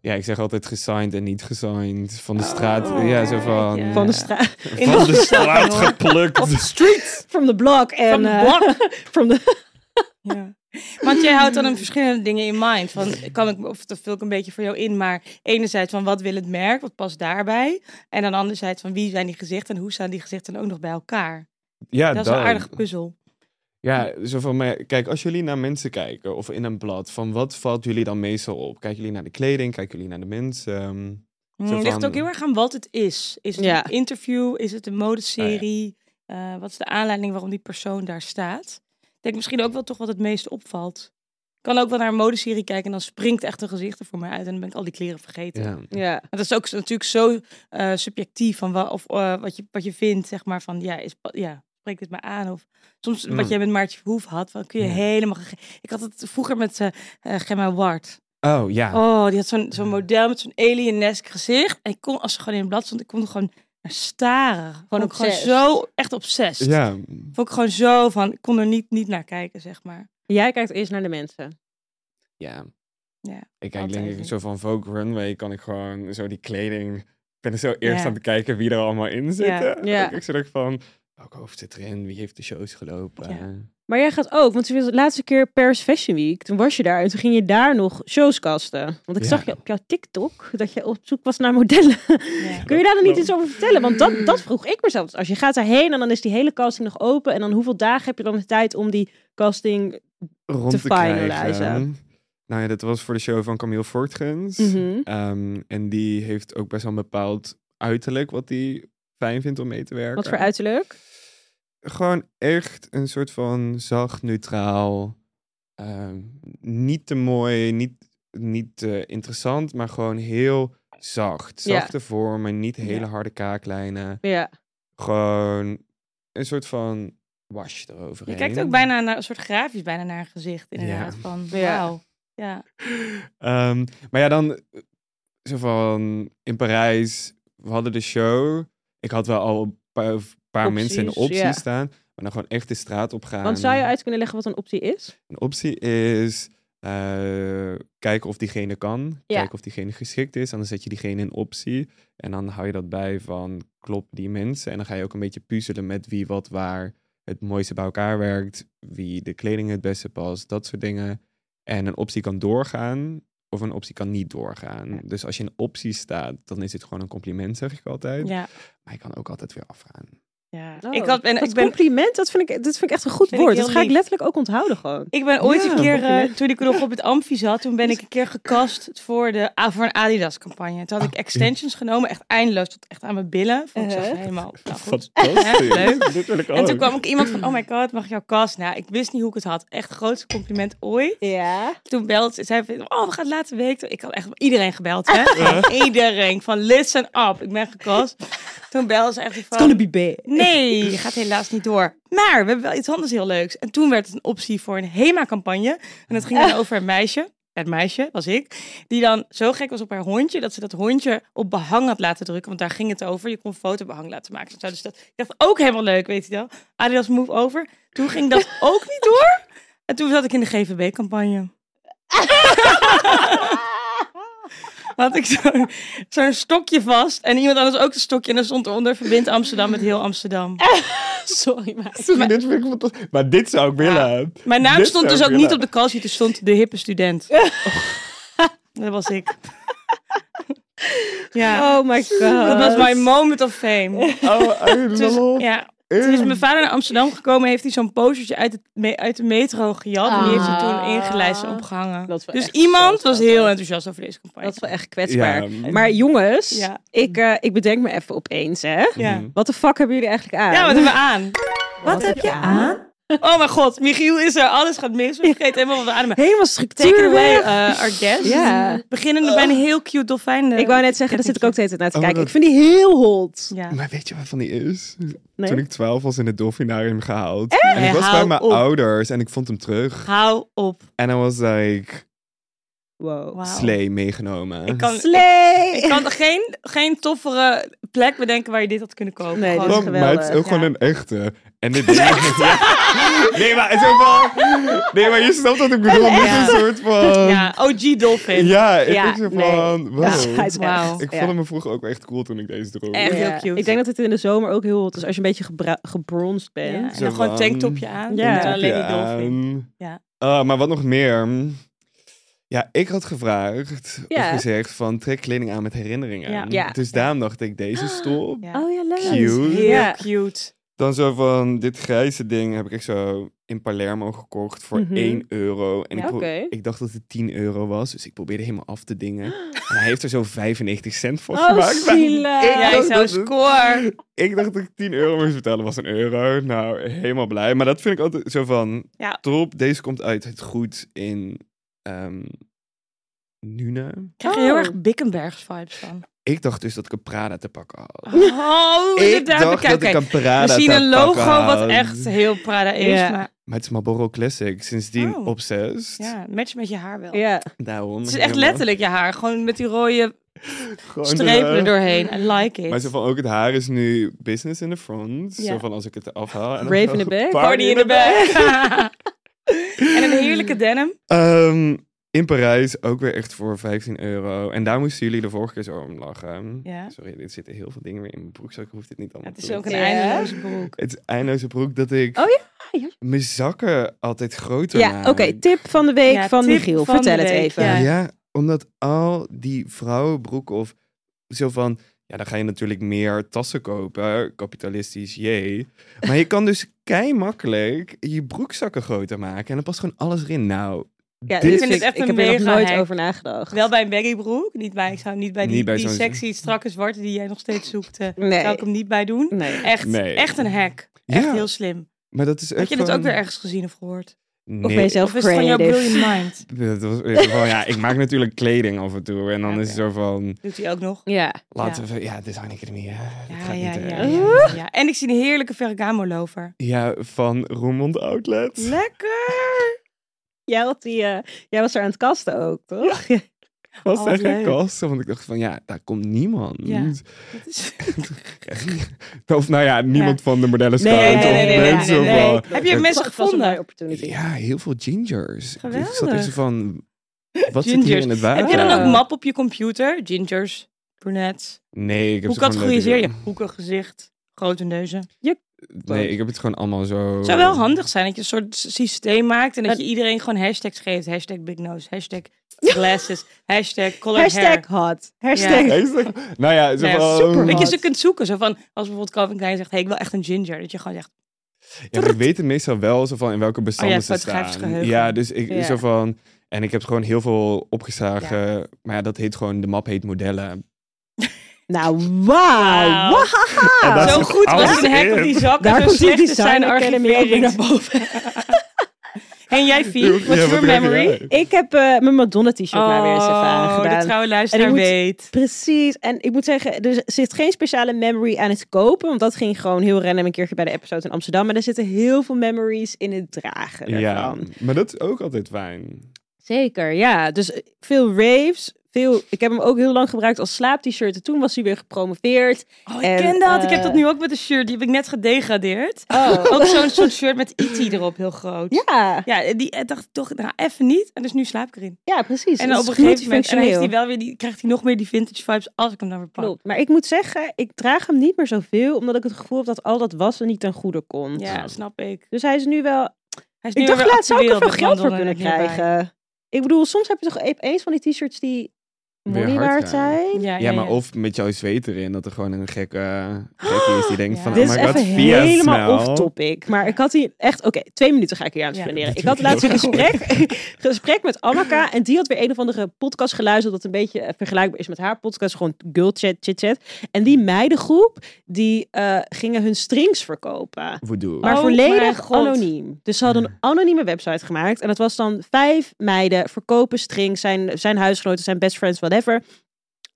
Speaker 3: Ja, ik zeg altijd gesigned en niet gesigned. Van de
Speaker 2: Oh,
Speaker 3: straat. ja, zo
Speaker 2: kijk,
Speaker 3: van...
Speaker 2: ja.
Speaker 1: Van de
Speaker 2: Ja.
Speaker 1: straat.
Speaker 2: In
Speaker 3: Van
Speaker 2: de
Speaker 3: de
Speaker 2: straat,
Speaker 3: straat
Speaker 2: hoor.
Speaker 3: geplukt.
Speaker 2: Op de street.
Speaker 1: From the block. En,
Speaker 2: Van de
Speaker 1: eh,
Speaker 2: blok.
Speaker 1: from the-
Speaker 2: Ja. Want jij houdt dan een verschillende dingen in mind. Van, kan ik, of dat vul ik een beetje voor jou in, maar enerzijds van wat wil het merk, wat past daarbij? En dan anderzijds van wie zijn die gezichten en hoe staan die gezichten dan ook nog bij elkaar?
Speaker 3: Ja,
Speaker 2: dat is een
Speaker 3: dat.
Speaker 2: aardige puzzel.
Speaker 3: Ja, zo van, maar kijk, als jullie naar mensen kijken of in een blad, van wat valt jullie dan meestal op? Kijken jullie naar de kleding? Kijken jullie naar de mensen? Ehm,
Speaker 2: Het
Speaker 3: Zo
Speaker 2: ligt
Speaker 3: van-
Speaker 2: ook heel erg aan wat het is. Is het
Speaker 1: Ja.
Speaker 2: een interview? Is het een modeserie?
Speaker 3: Oh,
Speaker 2: Eh, wat is de aanleiding waarom die persoon daar staat? Ik denk misschien ook wel toch wat het meest opvalt. Ik kan ook wel naar een modeserie kijken en dan springt echt een gezicht er voor mij uit en dan ben ik al die kleren vergeten.
Speaker 3: ja.
Speaker 1: ja.
Speaker 2: Maar dat is ook natuurlijk zo eh, subjectief van wa- of, eh, wat, je, wat je vindt, zeg maar, van ja, is, pa- ja spreekt dit me aan? Of soms
Speaker 3: Mm.
Speaker 2: wat jij met Maartje Verhoef had, van kun je
Speaker 3: Ja.
Speaker 2: helemaal... gege- Ik had het vroeger met eh eh, Gemma Ward.
Speaker 3: Oh ja.
Speaker 2: Oh, die had zo'n zo'n model met zo'n alienesk gezicht. En ik kon, als ze gewoon in het blad stond, ik kon er gewoon naar staren. Gewoon ook gewoon
Speaker 1: Obsessed.
Speaker 2: zo, echt obsessed.
Speaker 3: ja.
Speaker 2: Vond ik gewoon zo van, ik kon er niet, niet naar kijken, zeg maar.
Speaker 1: Jij kijkt eerst naar de mensen.
Speaker 3: Ja.
Speaker 2: Ja,
Speaker 3: Ik kijk
Speaker 2: altijd
Speaker 3: denk ik
Speaker 2: niet.
Speaker 3: zo van Vogue Runway, kan ik gewoon zo die kleding, ik ben er zo eerst
Speaker 2: Ja.
Speaker 3: aan het kijken wie er allemaal in zitten.
Speaker 1: Ja.
Speaker 3: Ik zo denk van, welk hoofd zit erin? Wie heeft de shows gelopen?
Speaker 2: Ja.
Speaker 1: Maar jij gaat ook, want toen was de laatste keer Paris Fashion Week, toen was je daar en toen ging je daar nog shows kasten. Want ik
Speaker 3: Ja.
Speaker 1: zag je op jouw TikTok dat je op zoek was naar modellen.
Speaker 2: Ja.
Speaker 1: Kun je daar dan niet
Speaker 3: klopt.
Speaker 1: iets over vertellen? Want dat, dat vroeg ik mezelf. Dus Als je gaat daarheen en dan is die hele casting nog open en dan hoeveel dagen heb je dan de tijd om die casting...
Speaker 3: Rond
Speaker 1: Te
Speaker 3: te, krijgen.
Speaker 1: finalizen.
Speaker 3: Nou ja, dat was voor de show van Camille Voortgens.
Speaker 1: Mhm.
Speaker 3: Ehm, en die heeft ook best wel een bepaald uiterlijk wat hij fijn vindt om mee te werken.
Speaker 1: Wat voor uiterlijk?
Speaker 3: gewoon echt een soort van zacht, neutraal. ehm, niet te mooi, niet, niet te interessant, maar gewoon heel zacht.
Speaker 1: Ja.
Speaker 3: Zachte vormen, niet hele
Speaker 2: Ja.
Speaker 3: harde kaaklijnen.
Speaker 1: Ja.
Speaker 3: Gewoon een soort van wash eroverheen.
Speaker 2: Je kijkt ook bijna naar een soort grafisch bijna naar een gezicht inderdaad.
Speaker 3: Ja.
Speaker 2: Van
Speaker 1: Ja.
Speaker 2: wauw. Ja.
Speaker 3: Ehm, maar ja, dan eh, zo van in Parijs, we hadden de show. Ik had wel al een paar, een paar
Speaker 1: Opties,
Speaker 3: mensen in de optie
Speaker 1: ja.
Speaker 3: staan, maar dan gewoon echt de straat op gaan.
Speaker 1: Want zou je uit kunnen leggen wat een optie is?
Speaker 3: Een optie is eh, kijken of diegene kan, kijken of diegene geschikt is. Anders zet je diegene in optie en dan hou je dat bij van klopt die mensen. En dan ga je ook een beetje puzzelen met wie wat waar het mooiste bij elkaar werkt, wie de kleding het beste past, dat soort dingen. En een optie kan doorgaan of een optie kan niet doorgaan. Dus als je in optie staat, dan is het gewoon een compliment, zeg ik altijd.
Speaker 2: Ja.
Speaker 3: Maar je kan ook altijd weer afgaan.
Speaker 2: ja.
Speaker 1: Oh,
Speaker 2: ik, had, en,
Speaker 1: dat
Speaker 2: ik ben
Speaker 1: compliment, dat vind, ik, dat vind ik echt een goed
Speaker 2: Vind ik
Speaker 1: woord.
Speaker 2: heel
Speaker 1: Dat ga ik
Speaker 2: lief.
Speaker 1: letterlijk ook onthouden gewoon.
Speaker 2: Ik ben ooit
Speaker 3: Ja.
Speaker 2: een keer, eh,
Speaker 1: Compliment.
Speaker 2: toen ik nog op het Amfi zat, toen ben ik een keer gekast voor, de, ah, voor een Adidas-campagne. Toen had
Speaker 3: Ah,
Speaker 2: ik extensions genomen, echt eindeloos, tot echt aan mijn billen. Vond ik zag er
Speaker 1: Uh-huh.
Speaker 2: helemaal nou, goed.
Speaker 3: Fantastisch.
Speaker 2: Ja, leuk.
Speaker 3: Dit wil ik
Speaker 2: En toen
Speaker 3: ook.
Speaker 2: kwam ook iemand van, oh my god, mag ik jouw kast? Nou, ik wist niet hoe ik het had. Echt grootste compliment ooit.
Speaker 1: Ja.
Speaker 2: Toen belt ze, zei van, oh, we gaan laatste week. Ik had echt iedereen gebeld, hè? Iedereen, van listen up, ik ben gekast. Toen belde ze echt van...
Speaker 1: It's gonna be bad.
Speaker 2: Nee, gaat helaas niet door. Maar we hebben wel iets anders heel leuks. En toen werd het een optie voor een HEMA-campagne. En dat ging dan over een meisje. Het meisje was ik. Die dan zo gek was op haar hondje. Dat ze dat hondje op behang had laten drukken. Want daar ging het over. Je kon fotobehang laten maken. en zo. Dus dat, ik dacht ook helemaal leuk, weet je wel. Adidas Move Over. Toen ging dat ook niet door. En toen zat ik in de GVB-campagne. had ik zo'n zo'n stokje vast. En iemand anders ook een stokje. En dan stond eronder verbind Amsterdam met heel Amsterdam.
Speaker 1: Sorry, maar...
Speaker 3: Sorry, dit vind ik fantastisch. Maar dit zou ik willen.
Speaker 2: Mijn naam
Speaker 3: Dit
Speaker 2: stond
Speaker 3: zou
Speaker 2: dus
Speaker 3: ik
Speaker 2: ook
Speaker 3: willen.
Speaker 2: niet op de kalsje. Er stond de hippe student. Dat was ik. ja,
Speaker 1: Oh my god.
Speaker 2: dat was mijn moment of fame.
Speaker 3: Oh, I
Speaker 2: Toen
Speaker 3: love
Speaker 2: is, ja,
Speaker 3: it.
Speaker 2: toen is mijn vader naar Amsterdam gekomen. Heeft hij zo'n postertje uit, het, me- uit de metro gejat. En die heeft hij toen ingelijst en opgehangen.
Speaker 1: Ah. Dat is wel
Speaker 2: Dus
Speaker 1: echt
Speaker 2: iemand
Speaker 1: zo
Speaker 2: was
Speaker 1: schattig.
Speaker 2: heel enthousiast over deze campagne.
Speaker 1: Dat is wel echt kwetsbaar.
Speaker 3: Ja.
Speaker 1: Maar jongens,
Speaker 2: Ja.
Speaker 1: ik, eh, ik bedenk me even opeens, hè.
Speaker 2: ja.
Speaker 3: Mhm.
Speaker 1: Wat de fuck hebben jullie eigenlijk aan?
Speaker 2: ja, wat hebben we aan?
Speaker 1: Wat heb je aan?
Speaker 2: Oh mijn god, Michiel is er. Alles gaat mis. We vergeten helemaal wat we ademen.
Speaker 1: Helemaal
Speaker 2: Take
Speaker 1: structuur
Speaker 2: it away,
Speaker 1: weg.
Speaker 2: eh, our guest.
Speaker 1: Ja.
Speaker 2: Beginnende bij een heel cute dolfijn. eh,
Speaker 1: Ik wou net zeggen, daar zit ik ook
Speaker 2: techniekje.
Speaker 1: de hele tijd naar te
Speaker 3: Oh my
Speaker 1: kijken. Ik
Speaker 3: God.
Speaker 1: vind die heel hot.
Speaker 2: Ja.
Speaker 3: Maar weet je waarvan die is?
Speaker 1: Nee.
Speaker 3: Toen ik 12 was in het dolfinarium gehaald. En
Speaker 2: Nee,
Speaker 3: ik was bij
Speaker 2: hou
Speaker 3: mijn
Speaker 2: op.
Speaker 3: ouders en ik vond hem terug.
Speaker 2: Hou op.
Speaker 3: En I was like,
Speaker 1: Wow.
Speaker 2: Wauw.
Speaker 3: slee meegenomen.
Speaker 2: Ik kan,
Speaker 1: Slee!
Speaker 2: ik kan er geen, geen toffere plek bedenken waar je dit had kunnen kopen.
Speaker 1: Nee, dit
Speaker 2: Gewoon.
Speaker 1: is
Speaker 3: Gewoon, maar het is
Speaker 1: geweldig,
Speaker 3: ook gewoon
Speaker 2: ja.
Speaker 3: een echte. En dit ding. Nee, maar het is ook wel... Nee, maar je snapt wat ik bedoel. Dit is
Speaker 2: echte.
Speaker 3: een soort van...
Speaker 2: Ja, OG dolfin.
Speaker 3: Ja, ik
Speaker 1: Ja,
Speaker 3: was zo
Speaker 1: nee.
Speaker 3: van... wow.
Speaker 1: Ja, hij is
Speaker 2: Wauw.
Speaker 1: echt-
Speaker 3: Ik
Speaker 1: ja.
Speaker 3: vond hem vroeger ook echt cool toen ik deze droeg.
Speaker 2: Echt heel
Speaker 1: Ja.
Speaker 2: cute.
Speaker 1: Ik denk dat het in de zomer ook heel hot is als je een beetje gebra- gebronzed
Speaker 2: Ja, en
Speaker 1: bent.
Speaker 3: Zo
Speaker 2: dan gewoon
Speaker 3: warm.
Speaker 2: een tanktopje aan.
Speaker 1: Ja.
Speaker 2: Ja,
Speaker 1: Tanktopje
Speaker 2: alleen die dolfin.
Speaker 3: dolfijn.
Speaker 2: Ja.
Speaker 3: Oh, maar wat nog meer. Ja, ik had gevraagd
Speaker 1: Ja.
Speaker 3: of gezegd van trek kleding aan met herinneringen.
Speaker 2: Ja. Ah,
Speaker 1: Ja.
Speaker 3: Dus daarom dacht ik deze stop.
Speaker 2: Ja.
Speaker 1: Oh ja, leuk.
Speaker 3: Cute.
Speaker 2: Heel
Speaker 1: Ja.
Speaker 2: cute.
Speaker 3: Dan zo van dit grijze ding heb ik echt zo in Palermo gekocht voor
Speaker 1: Mhm.
Speaker 3: 1 euro. En
Speaker 2: Ja,
Speaker 3: ik, pro-
Speaker 1: oké.
Speaker 3: ik dacht dat het 10 euro was, dus ik probeerde helemaal af te dingen. En hij heeft er zo 95 cent voor
Speaker 1: Oh,
Speaker 3: gemaakt.
Speaker 1: zielig.
Speaker 3: Ik
Speaker 2: Ja,
Speaker 3: dacht
Speaker 2: ik zou
Speaker 3: dat Oh. het-
Speaker 2: score.
Speaker 3: ik dacht dat ik 10 euro moest betalen, was een euro. Nou, helemaal blij. Maar dat vind ik altijd zo van,
Speaker 2: Ja.
Speaker 3: top, deze komt uit het goed in ehm Nuna.
Speaker 2: Ik krijg er heel erg Bickenbergs vibes van.
Speaker 3: Ik dacht dus dat ik een Prada te pakken had.
Speaker 2: Oh,
Speaker 3: ik
Speaker 2: inderdaad.
Speaker 3: dacht
Speaker 2: Kijk,
Speaker 3: dat ik
Speaker 2: kijk.
Speaker 3: een Prada
Speaker 2: We
Speaker 3: te
Speaker 2: zien een logo
Speaker 3: pakken
Speaker 2: wat
Speaker 3: had.
Speaker 2: echt heel Prada is,
Speaker 1: Ja.
Speaker 2: maar
Speaker 3: Maar het is Marlboro Classic, sindsdien
Speaker 2: Oh.
Speaker 3: obsessed.
Speaker 2: ja, het matcht met je haar wel.
Speaker 1: Ja.
Speaker 3: Daarom.
Speaker 2: Het is echt letterlijk je haar, gewoon met die rode strepen
Speaker 3: door.
Speaker 2: er doorheen. I like it.
Speaker 3: Maar zo van, ook het haar is nu business in the front.
Speaker 2: Ja.
Speaker 3: Zo van, als ik het afhaal. en dan
Speaker 1: Rave in the
Speaker 3: gewoon
Speaker 1: back.
Speaker 2: Party in the back. en een heerlijke denim.
Speaker 3: Ehm, in Parijs ook weer echt voor 15 euro. En daar moesten jullie de vorige keer zo om lachen.
Speaker 2: Ja.
Speaker 3: Sorry, dit zitten heel veel dingen weer in mijn broekzak. Ik hoef dit niet allemaal
Speaker 2: Het is
Speaker 3: te
Speaker 2: ook een
Speaker 3: doen.
Speaker 1: Ja.
Speaker 2: eindeloze broek.
Speaker 3: Het is eindeloze broek dat ik
Speaker 1: Oh ja, ja.
Speaker 3: mijn zakken altijd groter
Speaker 1: Ja,
Speaker 3: maak.
Speaker 1: oké. tip van de week
Speaker 2: Ja,
Speaker 1: van
Speaker 2: tip
Speaker 1: Michiel.
Speaker 2: van
Speaker 1: Vertel
Speaker 2: de
Speaker 1: het
Speaker 2: week,
Speaker 1: even.
Speaker 3: Ja.
Speaker 2: ja.
Speaker 3: omdat al die vrouwenbroeken of zo van... Ja, dan ga je natuurlijk meer tassen kopen. Kapitalistisch, jee. Maar je kan dus kei makkelijk je broekzakken groter maken. En dan past gewoon alles erin. Nou,
Speaker 1: Ja, dit
Speaker 3: dit
Speaker 2: vind
Speaker 1: vind
Speaker 2: het
Speaker 1: ik,
Speaker 2: echt
Speaker 1: ik
Speaker 2: een
Speaker 1: heb er nog
Speaker 2: mega
Speaker 1: nooit
Speaker 2: hack.
Speaker 1: over nagedacht.
Speaker 2: Wel bij een baggy broek, niet bij, ik zou niet bij die,
Speaker 3: Niet bij
Speaker 2: die
Speaker 3: zo'n-
Speaker 2: sexy strakke zwarte die jij nog steeds zoekt, eh,
Speaker 1: Nee.
Speaker 2: zou ik hem niet bij doen.
Speaker 1: Nee.
Speaker 2: Echt,
Speaker 3: Nee.
Speaker 2: echt een hack. Echt
Speaker 3: Ja.
Speaker 2: heel slim.
Speaker 3: Maar dat is echt
Speaker 2: Had je dit ook
Speaker 3: gewoon-
Speaker 2: weer ergens gezien of gehoord?
Speaker 3: Nee,
Speaker 1: Of ben je zelf
Speaker 2: Of is het van jouw
Speaker 1: creative?
Speaker 2: brilliant mind?
Speaker 3: dat was, in ieder geval, ja, ik maak natuurlijk kleding af en toe. En dan
Speaker 2: Ja,
Speaker 3: is het zo van...
Speaker 2: Doet hij ook nog?
Speaker 1: Ja.
Speaker 3: Laten we... Ja, Design Academie, hè. Dat
Speaker 2: Ja,
Speaker 3: gaat
Speaker 2: ja,
Speaker 3: niet,
Speaker 2: ja,
Speaker 3: eh.
Speaker 2: ja, ja, ja. En ik zie een heerlijke Ferragamo lover.
Speaker 3: Ja, van Roermond Outlet.
Speaker 2: Lekker!
Speaker 1: Jij, had die, eh, jij was er aan het kasten ook, toch?
Speaker 3: was
Speaker 2: Oh,
Speaker 3: daar
Speaker 2: wat
Speaker 3: geen
Speaker 2: leuk.
Speaker 3: kast. Want ik dacht van, ja, daar komt niemand.
Speaker 2: Ja. Dat is...
Speaker 3: Of nou ja, niemand van de modellen
Speaker 1: Nee,
Speaker 3: scout
Speaker 1: nee, nee,
Speaker 3: of
Speaker 1: nee, nee,
Speaker 3: mensen
Speaker 1: nee,
Speaker 3: of
Speaker 1: nee.
Speaker 3: wel.
Speaker 2: Heb je
Speaker 3: Het-
Speaker 2: mensen
Speaker 1: Het was een
Speaker 2: gevonden?
Speaker 1: mooie opportunity.
Speaker 3: Ja, heel veel gingers. Ik zat
Speaker 2: Geweldig.
Speaker 3: echt zo van, wat zit hier
Speaker 2: Gingers.
Speaker 3: in het water?
Speaker 2: Heb je dan
Speaker 1: Ja.
Speaker 2: ook map op je computer? Gingers, brunettes.
Speaker 3: Nee, ik heb
Speaker 2: Hoe
Speaker 3: ze gewoon
Speaker 2: categoriseer je?
Speaker 3: leuke- Oh.
Speaker 2: Hoeken, gezicht, grote neuzen.
Speaker 3: Nee, ik heb het gewoon allemaal zo...
Speaker 2: Het zou wel handig zijn dat je een soort s- systeem maakt... en dat
Speaker 1: Het-
Speaker 2: je iedereen gewoon hashtags geeft. Hashtag big nose, hashtag glasses, hashtag color hair.
Speaker 1: Hashtag hot. Hashtag.
Speaker 3: Hey, is dat- Nou ja, zo
Speaker 2: Nee,
Speaker 3: van-
Speaker 1: super.
Speaker 2: Dat je
Speaker 1: Hot.
Speaker 2: ze kunt zoeken. Zo van, als bijvoorbeeld Calvin Klein zegt... hey, ik wil echt een ginger. Dat je gewoon zegt...
Speaker 3: Ja, maar ik weet het meestal wel zo van in welke bestanden
Speaker 2: Oh ja,
Speaker 3: ze
Speaker 2: fotografisch
Speaker 3: staan.
Speaker 2: geheugen.
Speaker 3: Ja, dus ik
Speaker 1: Ja.
Speaker 3: zo van... En ik heb gewoon heel veel opgeslagen. Maar ja, dat heet gewoon... De map heet modellen.
Speaker 1: Nou, wauw.
Speaker 2: Wauw.
Speaker 3: En daar
Speaker 2: zo
Speaker 3: zit
Speaker 2: goed was
Speaker 3: alles
Speaker 2: het een hack op die
Speaker 3: in.
Speaker 2: zak.
Speaker 1: Daar
Speaker 2: en zo
Speaker 1: komt die
Speaker 2: slecht is
Speaker 1: Design
Speaker 2: zijn
Speaker 1: Academy ook weer
Speaker 2: archivering.
Speaker 1: naar
Speaker 2: boven. en jij, Fie? What's
Speaker 3: Ja, wat
Speaker 2: your
Speaker 3: krijg je
Speaker 2: memory? Oh,
Speaker 3: daar?
Speaker 1: Ik heb eh, mijn Madonna-t-shirt maar weer eens even
Speaker 2: de
Speaker 1: aangedaan.
Speaker 2: trouwe
Speaker 1: En
Speaker 2: luisteraar
Speaker 1: ik moet-
Speaker 2: weet.
Speaker 1: Precies. En ik moet zeggen, er zit geen speciale memory aan het kopen. Want dat ging gewoon heel random een keertje bij de episode in Amsterdam. Maar er zitten heel veel memories in het dragen
Speaker 3: Ja,
Speaker 1: ervan.
Speaker 3: maar dat is ook altijd fijn.
Speaker 1: Zeker, ja. Dus eh, veel raves. Veel, ik heb hem ook heel lang gebruikt als slaap-t-shirt. En toen was hij weer gepromoveerd.
Speaker 2: Oh, ik
Speaker 1: En,
Speaker 2: ken dat. ik heb dat
Speaker 1: eh,
Speaker 2: nu ook met een shirt. Die heb ik net gedegradeerd.
Speaker 1: Oh.
Speaker 2: Ook zo'n soort shirt met IT erop, heel groot.
Speaker 1: Ja,
Speaker 2: Ja, die eh, dacht ik toch, nou even niet. En dus nu slaap ik erin.
Speaker 1: ja, precies.
Speaker 2: En
Speaker 1: Het
Speaker 2: dan op
Speaker 1: is
Speaker 2: een gegeven moment en dan heeft
Speaker 1: multifunctioneel.
Speaker 2: hij wel weer, die, krijgt hij nog meer die vintage vibes als ik hem dan weer pak.
Speaker 1: Klopt. Maar ik moet zeggen, ik draag hem niet meer zoveel. Omdat ik het gevoel heb dat al dat wassen niet ten goede komt.
Speaker 2: Ja, snap ik.
Speaker 1: Dus hij is nu wel
Speaker 2: Hij is nu
Speaker 1: Ik dacht
Speaker 2: weer
Speaker 1: laatst zou ik er
Speaker 2: actueel met
Speaker 1: veel geld voor
Speaker 2: Madonna
Speaker 1: kunnen
Speaker 2: erbij.
Speaker 1: krijgen. Ik bedoel, soms heb je toch e-, eens van die t-shirts die
Speaker 3: Weer
Speaker 1: money
Speaker 3: hard
Speaker 1: waard
Speaker 3: gaan.
Speaker 1: zijn.
Speaker 2: Ja,
Speaker 3: Ja, maar of met jouw zweet erin, dat er gewoon een gekke gekkie is die denkt
Speaker 2: Ja.
Speaker 3: van,
Speaker 1: Dit
Speaker 3: oh
Speaker 1: is
Speaker 3: my god,
Speaker 1: even
Speaker 3: via
Speaker 1: helemaal
Speaker 3: smell.
Speaker 1: off-topic. Maar ik had hier echt... Oké, twee minuten ga ik hier aan het
Speaker 2: Ja.
Speaker 1: spenderen.
Speaker 3: Dat
Speaker 1: Ik had
Speaker 3: vind ik
Speaker 1: laatst een
Speaker 3: heel goed.
Speaker 1: gesprek, gesprek met Amaka. En die had weer een of andere podcast geluisterd... dat een beetje eh, vergelijkbaar is met haar podcast. Gewoon girl chat, chit chat. En die meidengroep, die eh, gingen hun strings verkopen.
Speaker 3: Voodoo.
Speaker 1: Maar
Speaker 2: Oh mijn
Speaker 1: volledig
Speaker 2: god.
Speaker 1: anoniem. Dus ze hadden een anonieme website gemaakt. En dat was dan vijf meiden verkopen string. Zijn, zijn huisgenoten, zijn best friends, whatever. En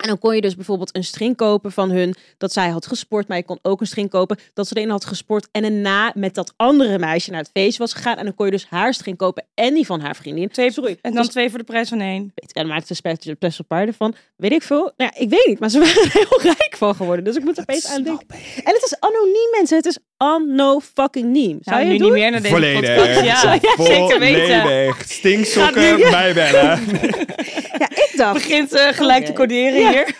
Speaker 1: dan kon je dus bijvoorbeeld een string kopen van hun. Dat zij had gesport. Maar je kon ook een string kopen. Dat ze erin had gesport. En daarna met dat andere meisje naar het feest was gegaan. En dan kon je dus haar string kopen. En die van haar vriendin.
Speaker 2: Twee,
Speaker 1: Sorry. Dus
Speaker 2: En dan twee voor de prijs van één.
Speaker 1: Weet ik, en daar maakte ze special, special paarden van. Weet ik veel. Nou, ja, ik weet niet. Maar ze waren er heel rijk van geworden. Dus ik moet er opeens aan denken. En het is anoniem, mensen. Het is anno fucking niem. Zou
Speaker 2: Nou,
Speaker 1: je
Speaker 2: nu
Speaker 1: het doen?
Speaker 2: niet meer naar deze
Speaker 3: Volledig.
Speaker 2: podcast. Ja, zeker weten.
Speaker 3: Volledig. Stinksokken,
Speaker 2: Gaat nu-
Speaker 3: mij bellen.
Speaker 1: Ja, ik dacht.
Speaker 2: Begint eh, gelijk te
Speaker 1: Oké.
Speaker 2: coderen
Speaker 1: Ja.
Speaker 2: hier.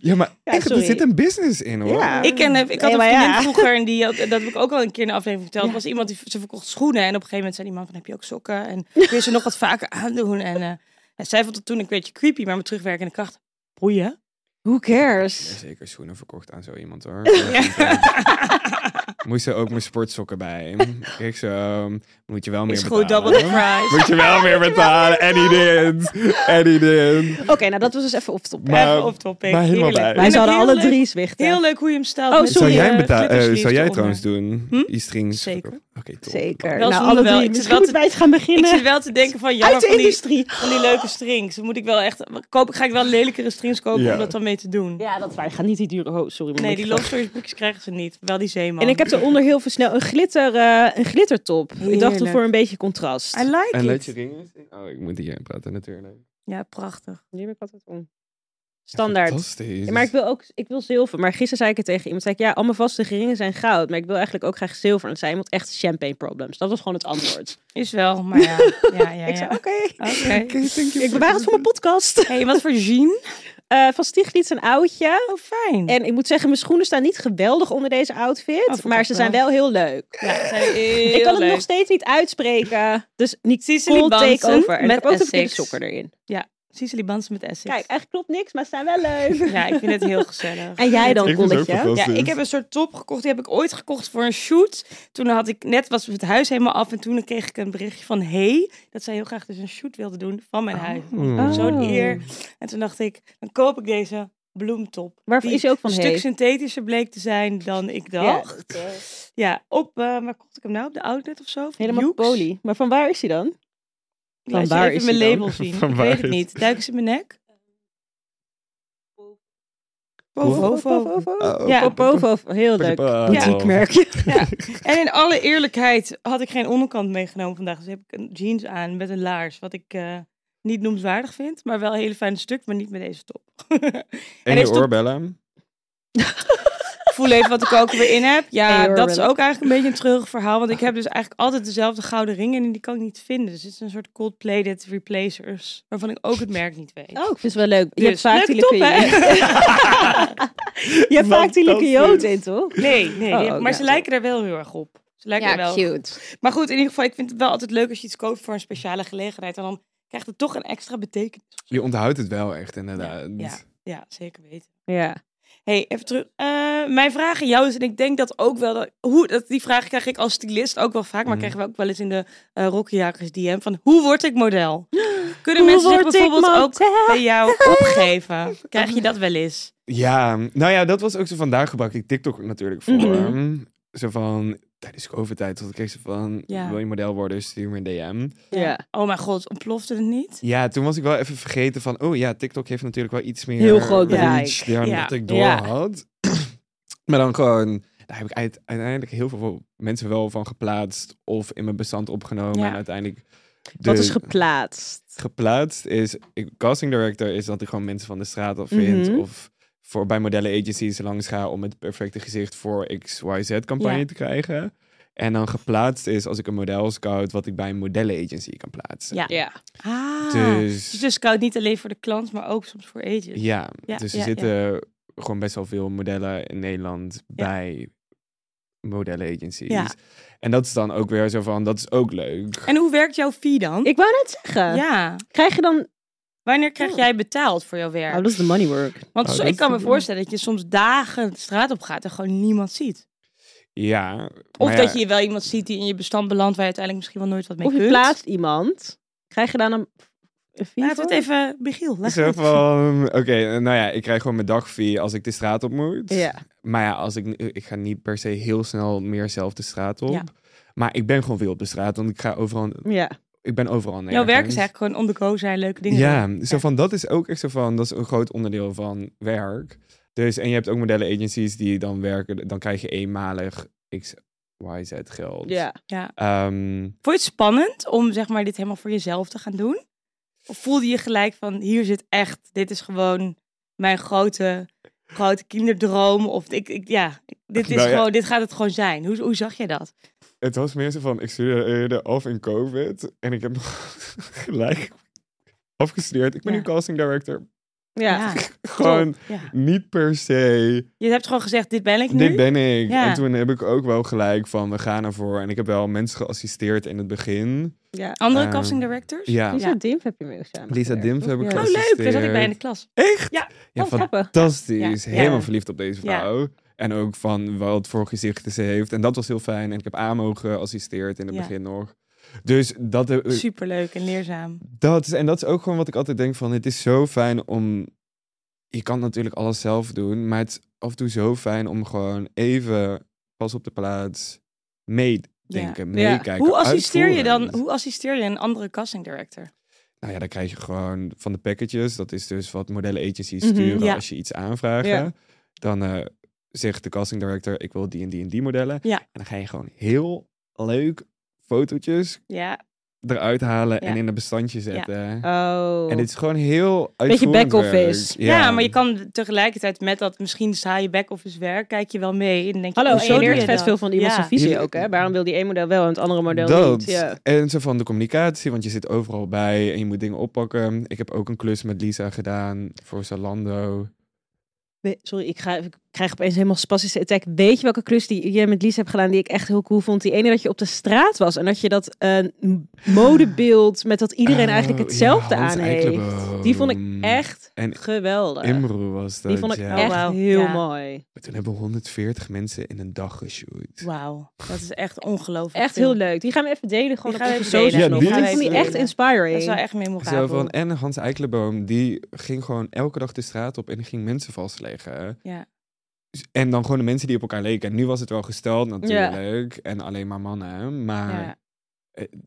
Speaker 3: Ja, maar
Speaker 1: Ja,
Speaker 3: echt, er
Speaker 1: sorry.
Speaker 3: zit een business in, hoor.
Speaker 1: Ja.
Speaker 2: Ik, ken, ik had
Speaker 1: Nee,
Speaker 2: een
Speaker 1: maar
Speaker 2: vriendin
Speaker 1: ja.
Speaker 2: vroeger en die had, dat heb ik ook al een keer in een aflevering verteld.
Speaker 1: Ja.
Speaker 2: was iemand die ze verkocht schoenen en op een gegeven moment zei die man van heb je ook sokken en kun je ze nog wat vaker aandoen en, eh, en zij vond het toen een beetje creepy, maar met terugwerkende kracht boeien.
Speaker 1: Who
Speaker 3: Ik heb
Speaker 1: cares?
Speaker 3: zeker schoenen verkocht aan zo iemand, hoor. Moesten Moest er ook mijn sportsokken bij. Ik zo, ehm, moet je wel meer
Speaker 2: Is gewoon
Speaker 3: betalen.
Speaker 2: double the price.
Speaker 3: Moet je wel meer betalen. En die dit. En die dit.
Speaker 1: Oké, nou dat was dus even opstoppen.
Speaker 3: Maar-
Speaker 2: Even off topic.
Speaker 3: maar helemaal
Speaker 2: Heerlijk.
Speaker 3: bij.
Speaker 1: Wij
Speaker 2: En
Speaker 1: zouden
Speaker 2: heel
Speaker 1: alle
Speaker 2: leuk-
Speaker 1: drie zwichten.
Speaker 2: Heel leuk hoe je hem stelt.
Speaker 1: Oh,
Speaker 2: met
Speaker 1: sorry,
Speaker 3: Zou
Speaker 2: die,
Speaker 3: jij,
Speaker 2: eh,
Speaker 3: hem beta- eh,
Speaker 2: glittersliefde
Speaker 3: zou jij
Speaker 2: onder.
Speaker 3: trouwens doen?
Speaker 2: Hm?
Speaker 3: Die strings
Speaker 2: Zeker.
Speaker 3: verkopen? Oké, top.
Speaker 1: Zeker.
Speaker 2: Wel, ze
Speaker 1: nou,
Speaker 2: doen wel.
Speaker 1: alle drie.
Speaker 2: Ik zit
Speaker 1: Misschien
Speaker 2: wel
Speaker 1: moeten
Speaker 2: te-
Speaker 1: wij het gaan
Speaker 2: Ik zit
Speaker 1: beginnen.
Speaker 2: wel te denken van ja,
Speaker 1: Uit
Speaker 2: maar
Speaker 1: de
Speaker 2: van die,
Speaker 1: industrie.
Speaker 2: van die leuke strings. Moet ik wel echt koop, ga ik wel lelijkere strings kopen
Speaker 3: Ja.
Speaker 2: om dat dan mee te doen.
Speaker 1: Ja, dat is waar. Ik ga niet die dure... Oh, sorry. mijn
Speaker 2: Nee, die
Speaker 1: microfoon.
Speaker 2: love stories boekjes krijgen ze niet. Wel die zeeman.
Speaker 1: En ik heb eronder heel veel snel een, glitter, eh, een glittertop. Ik dacht
Speaker 2: Heerlijk.
Speaker 1: voor een beetje contrast.
Speaker 2: I like
Speaker 3: En
Speaker 2: it.
Speaker 3: laat je ringen zien? Oh, ik moet hier praten natuurlijk.
Speaker 2: Ja, prachtig.
Speaker 1: Nu heb ik altijd om. Standaard.
Speaker 3: Fantastisch.
Speaker 1: Ja, maar ik wil ook ik wil zilver. Maar gisteren zei ik het tegen iemand. Zei ik, ja, al mijn vaste geringen zijn goud. Maar ik wil eigenlijk ook graag zilver. En dan zei iemand echt champagne problems. Dat was gewoon het antwoord.
Speaker 2: Is wel, maar ja. ja, ja,
Speaker 1: Ik zei,
Speaker 2: ja.
Speaker 1: oké.
Speaker 2: Oké.
Speaker 1: Ik bewaar het voor mijn podcast.
Speaker 2: Hey, wat voor jean?
Speaker 1: Eh, van Stieglitz een oudje.
Speaker 2: Oh, fijn.
Speaker 1: En ik moet zeggen, mijn schoenen staan niet geweldig onder deze outfit.
Speaker 2: Oh, vond ik
Speaker 1: maar
Speaker 2: ook
Speaker 1: ze zijn
Speaker 2: wel.
Speaker 1: wel heel leuk.
Speaker 2: Ja, ze zijn heel
Speaker 1: ik kan het
Speaker 2: leuk.
Speaker 1: nog steeds niet uitspreken. Dus niet
Speaker 2: Cicely
Speaker 1: full
Speaker 2: Bansen
Speaker 1: take over. En ik
Speaker 2: met
Speaker 1: heb ook de verkeerde
Speaker 2: Essex.
Speaker 1: sokken erin.
Speaker 2: Cicely Bansen met Essex.
Speaker 1: Kijk, eigenlijk klopt niks, maar ze zijn wel leuk.
Speaker 2: Ja, ik vind het heel gezellig.
Speaker 1: En jij dan,
Speaker 3: Ik vind het ook
Speaker 1: kolletje?
Speaker 2: Ja,
Speaker 3: fantastisch.
Speaker 2: ik heb een soort top gekocht. Die heb ik ooit gekocht voor een shoot. Toen had ik net was het huis helemaal af. En toen kreeg ik een berichtje van hey, dat zij heel graag dus een shoot wilde doen van mijn huis.
Speaker 3: Oh.
Speaker 2: Zo'n eer. En toen dacht ik, dan koop ik deze. bloemtop.
Speaker 1: Waar
Speaker 2: die
Speaker 1: is hij ook van
Speaker 2: een stuk
Speaker 1: heet?
Speaker 2: synthetischer bleek te zijn dan ik
Speaker 1: Ja,
Speaker 2: dacht. Ja, op, eh waar kocht ik hem nou? Op de outlet of zo? Of
Speaker 1: helemaal
Speaker 2: Hughes?
Speaker 1: poli. Maar van waar is hij dan?
Speaker 2: Ik Laat
Speaker 1: Van waar
Speaker 2: je even mijn
Speaker 1: is hij dan?
Speaker 2: label zien.
Speaker 3: Van
Speaker 2: ik
Speaker 3: waar
Speaker 2: weet het
Speaker 3: is-
Speaker 2: niet. Duik eens in mijn nek. Povo.
Speaker 1: Povo.
Speaker 3: Oh,
Speaker 2: Ja.
Speaker 1: Ja, Povo. Heel leuk.
Speaker 3: Povo.
Speaker 1: Boutiquemerkje.
Speaker 2: En in alle eerlijkheid had ik geen onderkant meegenomen vandaag. Dus heb ik een jeans aan met een laars. Wat ik eh, niet noemenswaardig vind. Maar wel een hele fijne stuk, maar niet met deze top.
Speaker 3: En
Speaker 2: hij
Speaker 3: je
Speaker 2: stond-
Speaker 3: oorbellen.
Speaker 2: Ik voel even wat ik ook weer in heb. Ja,
Speaker 1: Hey, hoor,
Speaker 2: dat is
Speaker 1: Willem.
Speaker 2: ook eigenlijk een beetje een treurig verhaal. Want ik heb dus eigenlijk altijd dezelfde gouden ringen. En die kan ik niet vinden. Dus het is een soort cold-plated replacers. Waarvan ik ook het merk niet weet.
Speaker 1: Oh, ik vind het wel leuk. Je
Speaker 2: Dus,
Speaker 1: hebt vaak
Speaker 2: leuke
Speaker 1: die
Speaker 2: top,
Speaker 1: Lecoyote. Je hebt vaak die Lecoyote in, toch?
Speaker 2: Nee, nee.
Speaker 1: Oh,
Speaker 2: die-
Speaker 1: ook,
Speaker 2: maar
Speaker 1: ja,
Speaker 2: ze lijken er wel heel erg op. Ze lijken er wel.
Speaker 4: cute.
Speaker 2: Maar goed, in ieder geval, ik vind het wel altijd leuk als je iets koopt voor een speciale gelegenheid. En dan krijgt het toch een extra betekenis.
Speaker 3: Je onthoudt het wel echt, inderdaad.
Speaker 2: ja. Ja, zeker weten.
Speaker 1: Ja.
Speaker 2: hey, even terug. Eh, mijn vraag aan jou is, en ik denk dat ook wel, dat, hoe, dat, die vraag krijg ik als stylist ook wel vaak, maar
Speaker 3: Mhm.
Speaker 2: krijgen we ook wel eens in de eh rokkenjagers DM van, hoe word ik model? Kunnen
Speaker 1: Hoe
Speaker 2: mensen zich
Speaker 1: word ik
Speaker 2: bijvoorbeeld ook
Speaker 1: model?
Speaker 2: bij jou opgeven? Krijg je dat wel eens?
Speaker 3: Ja, nou ja, dat was ook zo vandaag gebruik ik TikTok natuurlijk voor.
Speaker 1: Mhm.
Speaker 3: Ehm, Zo van, tijdens COVID-tijd tot ik kreeg ze van,
Speaker 2: Ja.
Speaker 3: wil je model worden, stuur me een DM.
Speaker 1: Ja.
Speaker 2: Oh mijn god, ontplofte het niet?
Speaker 3: Ja, toen was ik wel even vergeten van, oh ja, TikTok heeft natuurlijk wel iets meer
Speaker 1: Heel groot
Speaker 3: reach
Speaker 1: bereik.
Speaker 3: dan
Speaker 2: Ja.
Speaker 3: dat ik door
Speaker 1: Ja.
Speaker 3: had. maar dan gewoon, daar heb ik uit- uiteindelijk heel veel mensen wel van geplaatst of in mijn bestand opgenomen.
Speaker 2: Ja.
Speaker 3: En uiteindelijk de
Speaker 1: Wat is geplaatst?
Speaker 3: geplaatst is, ik, casting director is dat ik gewoon mensen van de straat af vind
Speaker 1: Mhm.
Speaker 3: of voor bij modellen agencies langs ga om het perfecte gezicht voor XYZ campagne
Speaker 2: Ja.
Speaker 3: te krijgen. En dan geplaatst is als ik een model scout, wat ik bij een modellenagency kan plaatsen.
Speaker 2: Ja.
Speaker 1: Ja.
Speaker 2: Ah, dus,
Speaker 3: Dus
Speaker 2: je scout niet alleen voor de klant, maar ook soms voor agents.
Speaker 3: Ja,
Speaker 2: Ja,
Speaker 3: dus er
Speaker 2: ja, ja.
Speaker 3: zitten gewoon best wel veel modellen in Nederland bij modellenagencies.
Speaker 2: Ja.
Speaker 3: En dat is dan ook weer zo van, dat is ook leuk.
Speaker 2: En hoe werkt jouw fee dan?
Speaker 1: Ik wou net zeggen.
Speaker 2: Ja.
Speaker 1: Krijg je dan...
Speaker 2: Wanneer krijg
Speaker 1: Ja.
Speaker 2: jij betaald voor jouw
Speaker 1: Oh,
Speaker 2: werk?
Speaker 1: dat is de money work.
Speaker 2: Want
Speaker 3: Oh,
Speaker 2: zo-
Speaker 3: dat
Speaker 2: ik
Speaker 3: is
Speaker 2: kan
Speaker 3: de-
Speaker 2: me voorstellen dat je soms dagen de straat op gaat en gewoon niemand ziet.
Speaker 3: Ja.
Speaker 2: Of
Speaker 3: maar ja,
Speaker 2: dat je wel iemand ziet die in je bestand belandt waar je uiteindelijk misschien wel nooit wat mee
Speaker 1: Of je
Speaker 2: kunt.
Speaker 1: plaatst iemand. Krijg je dan een... een fee
Speaker 2: Laten we
Speaker 1: voor?
Speaker 2: het even, Michiel. Leg
Speaker 3: Zo
Speaker 2: het.
Speaker 3: van, oké, nou ja, ik krijg gewoon mijn dagfee als ik de straat op moet.
Speaker 1: Ja.
Speaker 3: Maar ja, als ik, ik ga niet per se heel snel meer zelf de straat op.
Speaker 2: Ja.
Speaker 3: Maar ik ben gewoon veel op de straat, want ik ga overal,
Speaker 1: Ja.
Speaker 3: ik ben overal
Speaker 2: Jouw werk is
Speaker 3: nergens.
Speaker 2: eigenlijk gewoon on the go zijn, leuke dingen doen.
Speaker 3: Ja, zo van dat is ook echt zo van, dat is een groot onderdeel van werk. Dus, en je hebt ook modellenagencies die dan werken, dan krijg je eenmalig XYZ geld.
Speaker 1: Ja.
Speaker 3: Ehm,
Speaker 2: Vond je het spannend om zeg maar, dit helemaal voor jezelf te gaan doen? Of voelde je gelijk van, hier zit echt, dit is gewoon mijn grote, grote kinderdroom. Of ik, ik, ja, dit, is
Speaker 3: Nou ja.
Speaker 2: gewoon, dit gaat het gewoon zijn. Hoe, hoe zag je dat?
Speaker 3: het was meer zo van, ik studeerde af in COVID en ik heb nog gelijk afgestudeerd. Ik ben
Speaker 2: Ja.
Speaker 3: nu casting director.
Speaker 1: Ja.
Speaker 3: Gewoon
Speaker 2: top. Ja.
Speaker 3: niet per se
Speaker 2: Je hebt gewoon gezegd, dit ben ik nu.
Speaker 3: Dit ben ik.
Speaker 2: Ja.
Speaker 3: En toen heb ik ook wel gelijk van, we gaan ervoor. En ik heb wel mensen geassisteerd in het begin.
Speaker 1: ja.
Speaker 2: Andere
Speaker 3: Eh,
Speaker 2: casting directors?
Speaker 3: Ja.
Speaker 1: Lisa Dimp heb je mee samen.
Speaker 3: Lisa Dimp heb ik
Speaker 1: ja.
Speaker 2: Oh,
Speaker 3: geassisteerd.
Speaker 2: leuk. Daar zat ik bij in de klas.
Speaker 3: Ja,
Speaker 1: Oh, grappig.
Speaker 3: fantastisch.
Speaker 2: Ja.
Speaker 3: Helemaal
Speaker 2: Ja.
Speaker 3: verliefd op deze
Speaker 2: Ja.
Speaker 3: vrouw. En ook van wat voor gezichten ze heeft. En dat was heel fijn. En ik heb Amo geassisteerd in het
Speaker 2: Ja.
Speaker 3: begin nog. Dus dat, eh,
Speaker 2: Superleuk en leerzaam.
Speaker 3: dat is, en dat is ook gewoon wat ik altijd denk van, het is zo fijn om, je kan natuurlijk alles zelf doen, maar het is af en toe zo fijn om gewoon even pas op de plaats meedenken,
Speaker 1: Ja.
Speaker 3: meekijken.
Speaker 2: Hoe assisteer je dan?
Speaker 3: uitvoerend.
Speaker 2: Hoe assisteer je een andere casting director?
Speaker 3: Nou ja, dan krijg je gewoon van de packages. Dat is dus wat modellen agencies
Speaker 1: Mhm,
Speaker 3: sturen
Speaker 2: ja.
Speaker 3: als je iets aanvraagt.
Speaker 1: Ja.
Speaker 3: Dan eh, zegt de casting director, ik wil die en die en die modellen.
Speaker 2: Ja.
Speaker 3: En dan ga je gewoon heel leuk fotootjes
Speaker 2: Ja,
Speaker 3: eruit halen en
Speaker 2: Ja.
Speaker 3: in een bestandje zetten.
Speaker 1: Oh.
Speaker 3: En dit is gewoon heel
Speaker 1: Beetje
Speaker 3: uitvoerend
Speaker 1: back-office.
Speaker 3: werk.
Speaker 2: ja. maar je kan tegelijkertijd met dat misschien saaie back-office werk, kijk je wel mee en denk je,
Speaker 1: Hallo,
Speaker 2: oh, zo
Speaker 1: en je
Speaker 2: doe
Speaker 1: leert vet
Speaker 2: dat.
Speaker 1: veel van iemand
Speaker 2: Ja.
Speaker 1: zijn visie
Speaker 3: Hier-
Speaker 1: ook, hè? Waarom wil die één model wel en het andere model
Speaker 3: dat.
Speaker 1: niet? Ja.
Speaker 3: En zo van de communicatie, want je zit overal bij en je moet dingen oppakken. Ik heb ook een klus met Lisa gedaan voor Zalando.
Speaker 1: We- Sorry, ik ga even krijg opeens helemaal spastische attack. Weet je welke klus die je met Lies hebt gedaan die ik echt heel cool vond? Die ene dat je op de straat was en dat je dat eh, modebeeld met dat iedereen
Speaker 3: Oh,
Speaker 1: eigenlijk
Speaker 3: ja,
Speaker 1: hetzelfde
Speaker 3: Hans
Speaker 1: aan heeft.
Speaker 3: Eikeboom.
Speaker 1: Die vond ik echt
Speaker 3: Mm. En
Speaker 1: geweldig.
Speaker 3: Imro was dat.
Speaker 1: die vond ik
Speaker 3: ja.
Speaker 1: echt
Speaker 2: Wauw.
Speaker 1: heel
Speaker 2: Ja.
Speaker 1: mooi.
Speaker 3: Maar Toen hebben we 140 mensen in een dag geshoot.
Speaker 2: Wauw, dat is echt ongelooflijk.
Speaker 1: Echt
Speaker 2: veel.
Speaker 1: heel leuk. Die gaan we even delen. Gewoon
Speaker 2: Die
Speaker 1: op
Speaker 2: gaan we
Speaker 1: onze
Speaker 2: even delen.
Speaker 1: socials
Speaker 3: Ja,
Speaker 1: nog.
Speaker 3: die-
Speaker 1: Want ik vond die
Speaker 2: Ja.
Speaker 1: echt inspiring.
Speaker 2: Dat is wel echt
Speaker 3: Zo
Speaker 2: memorabel.
Speaker 3: van, en Hans Eikelenboom, die ging gewoon elke dag de straat op en die ging mensen vastleggen.
Speaker 2: Ja.
Speaker 3: En dan gewoon de mensen die op elkaar leken. En nu was het wel gesteld natuurlijk. En alleen maar mannen. Maar
Speaker 2: Ja.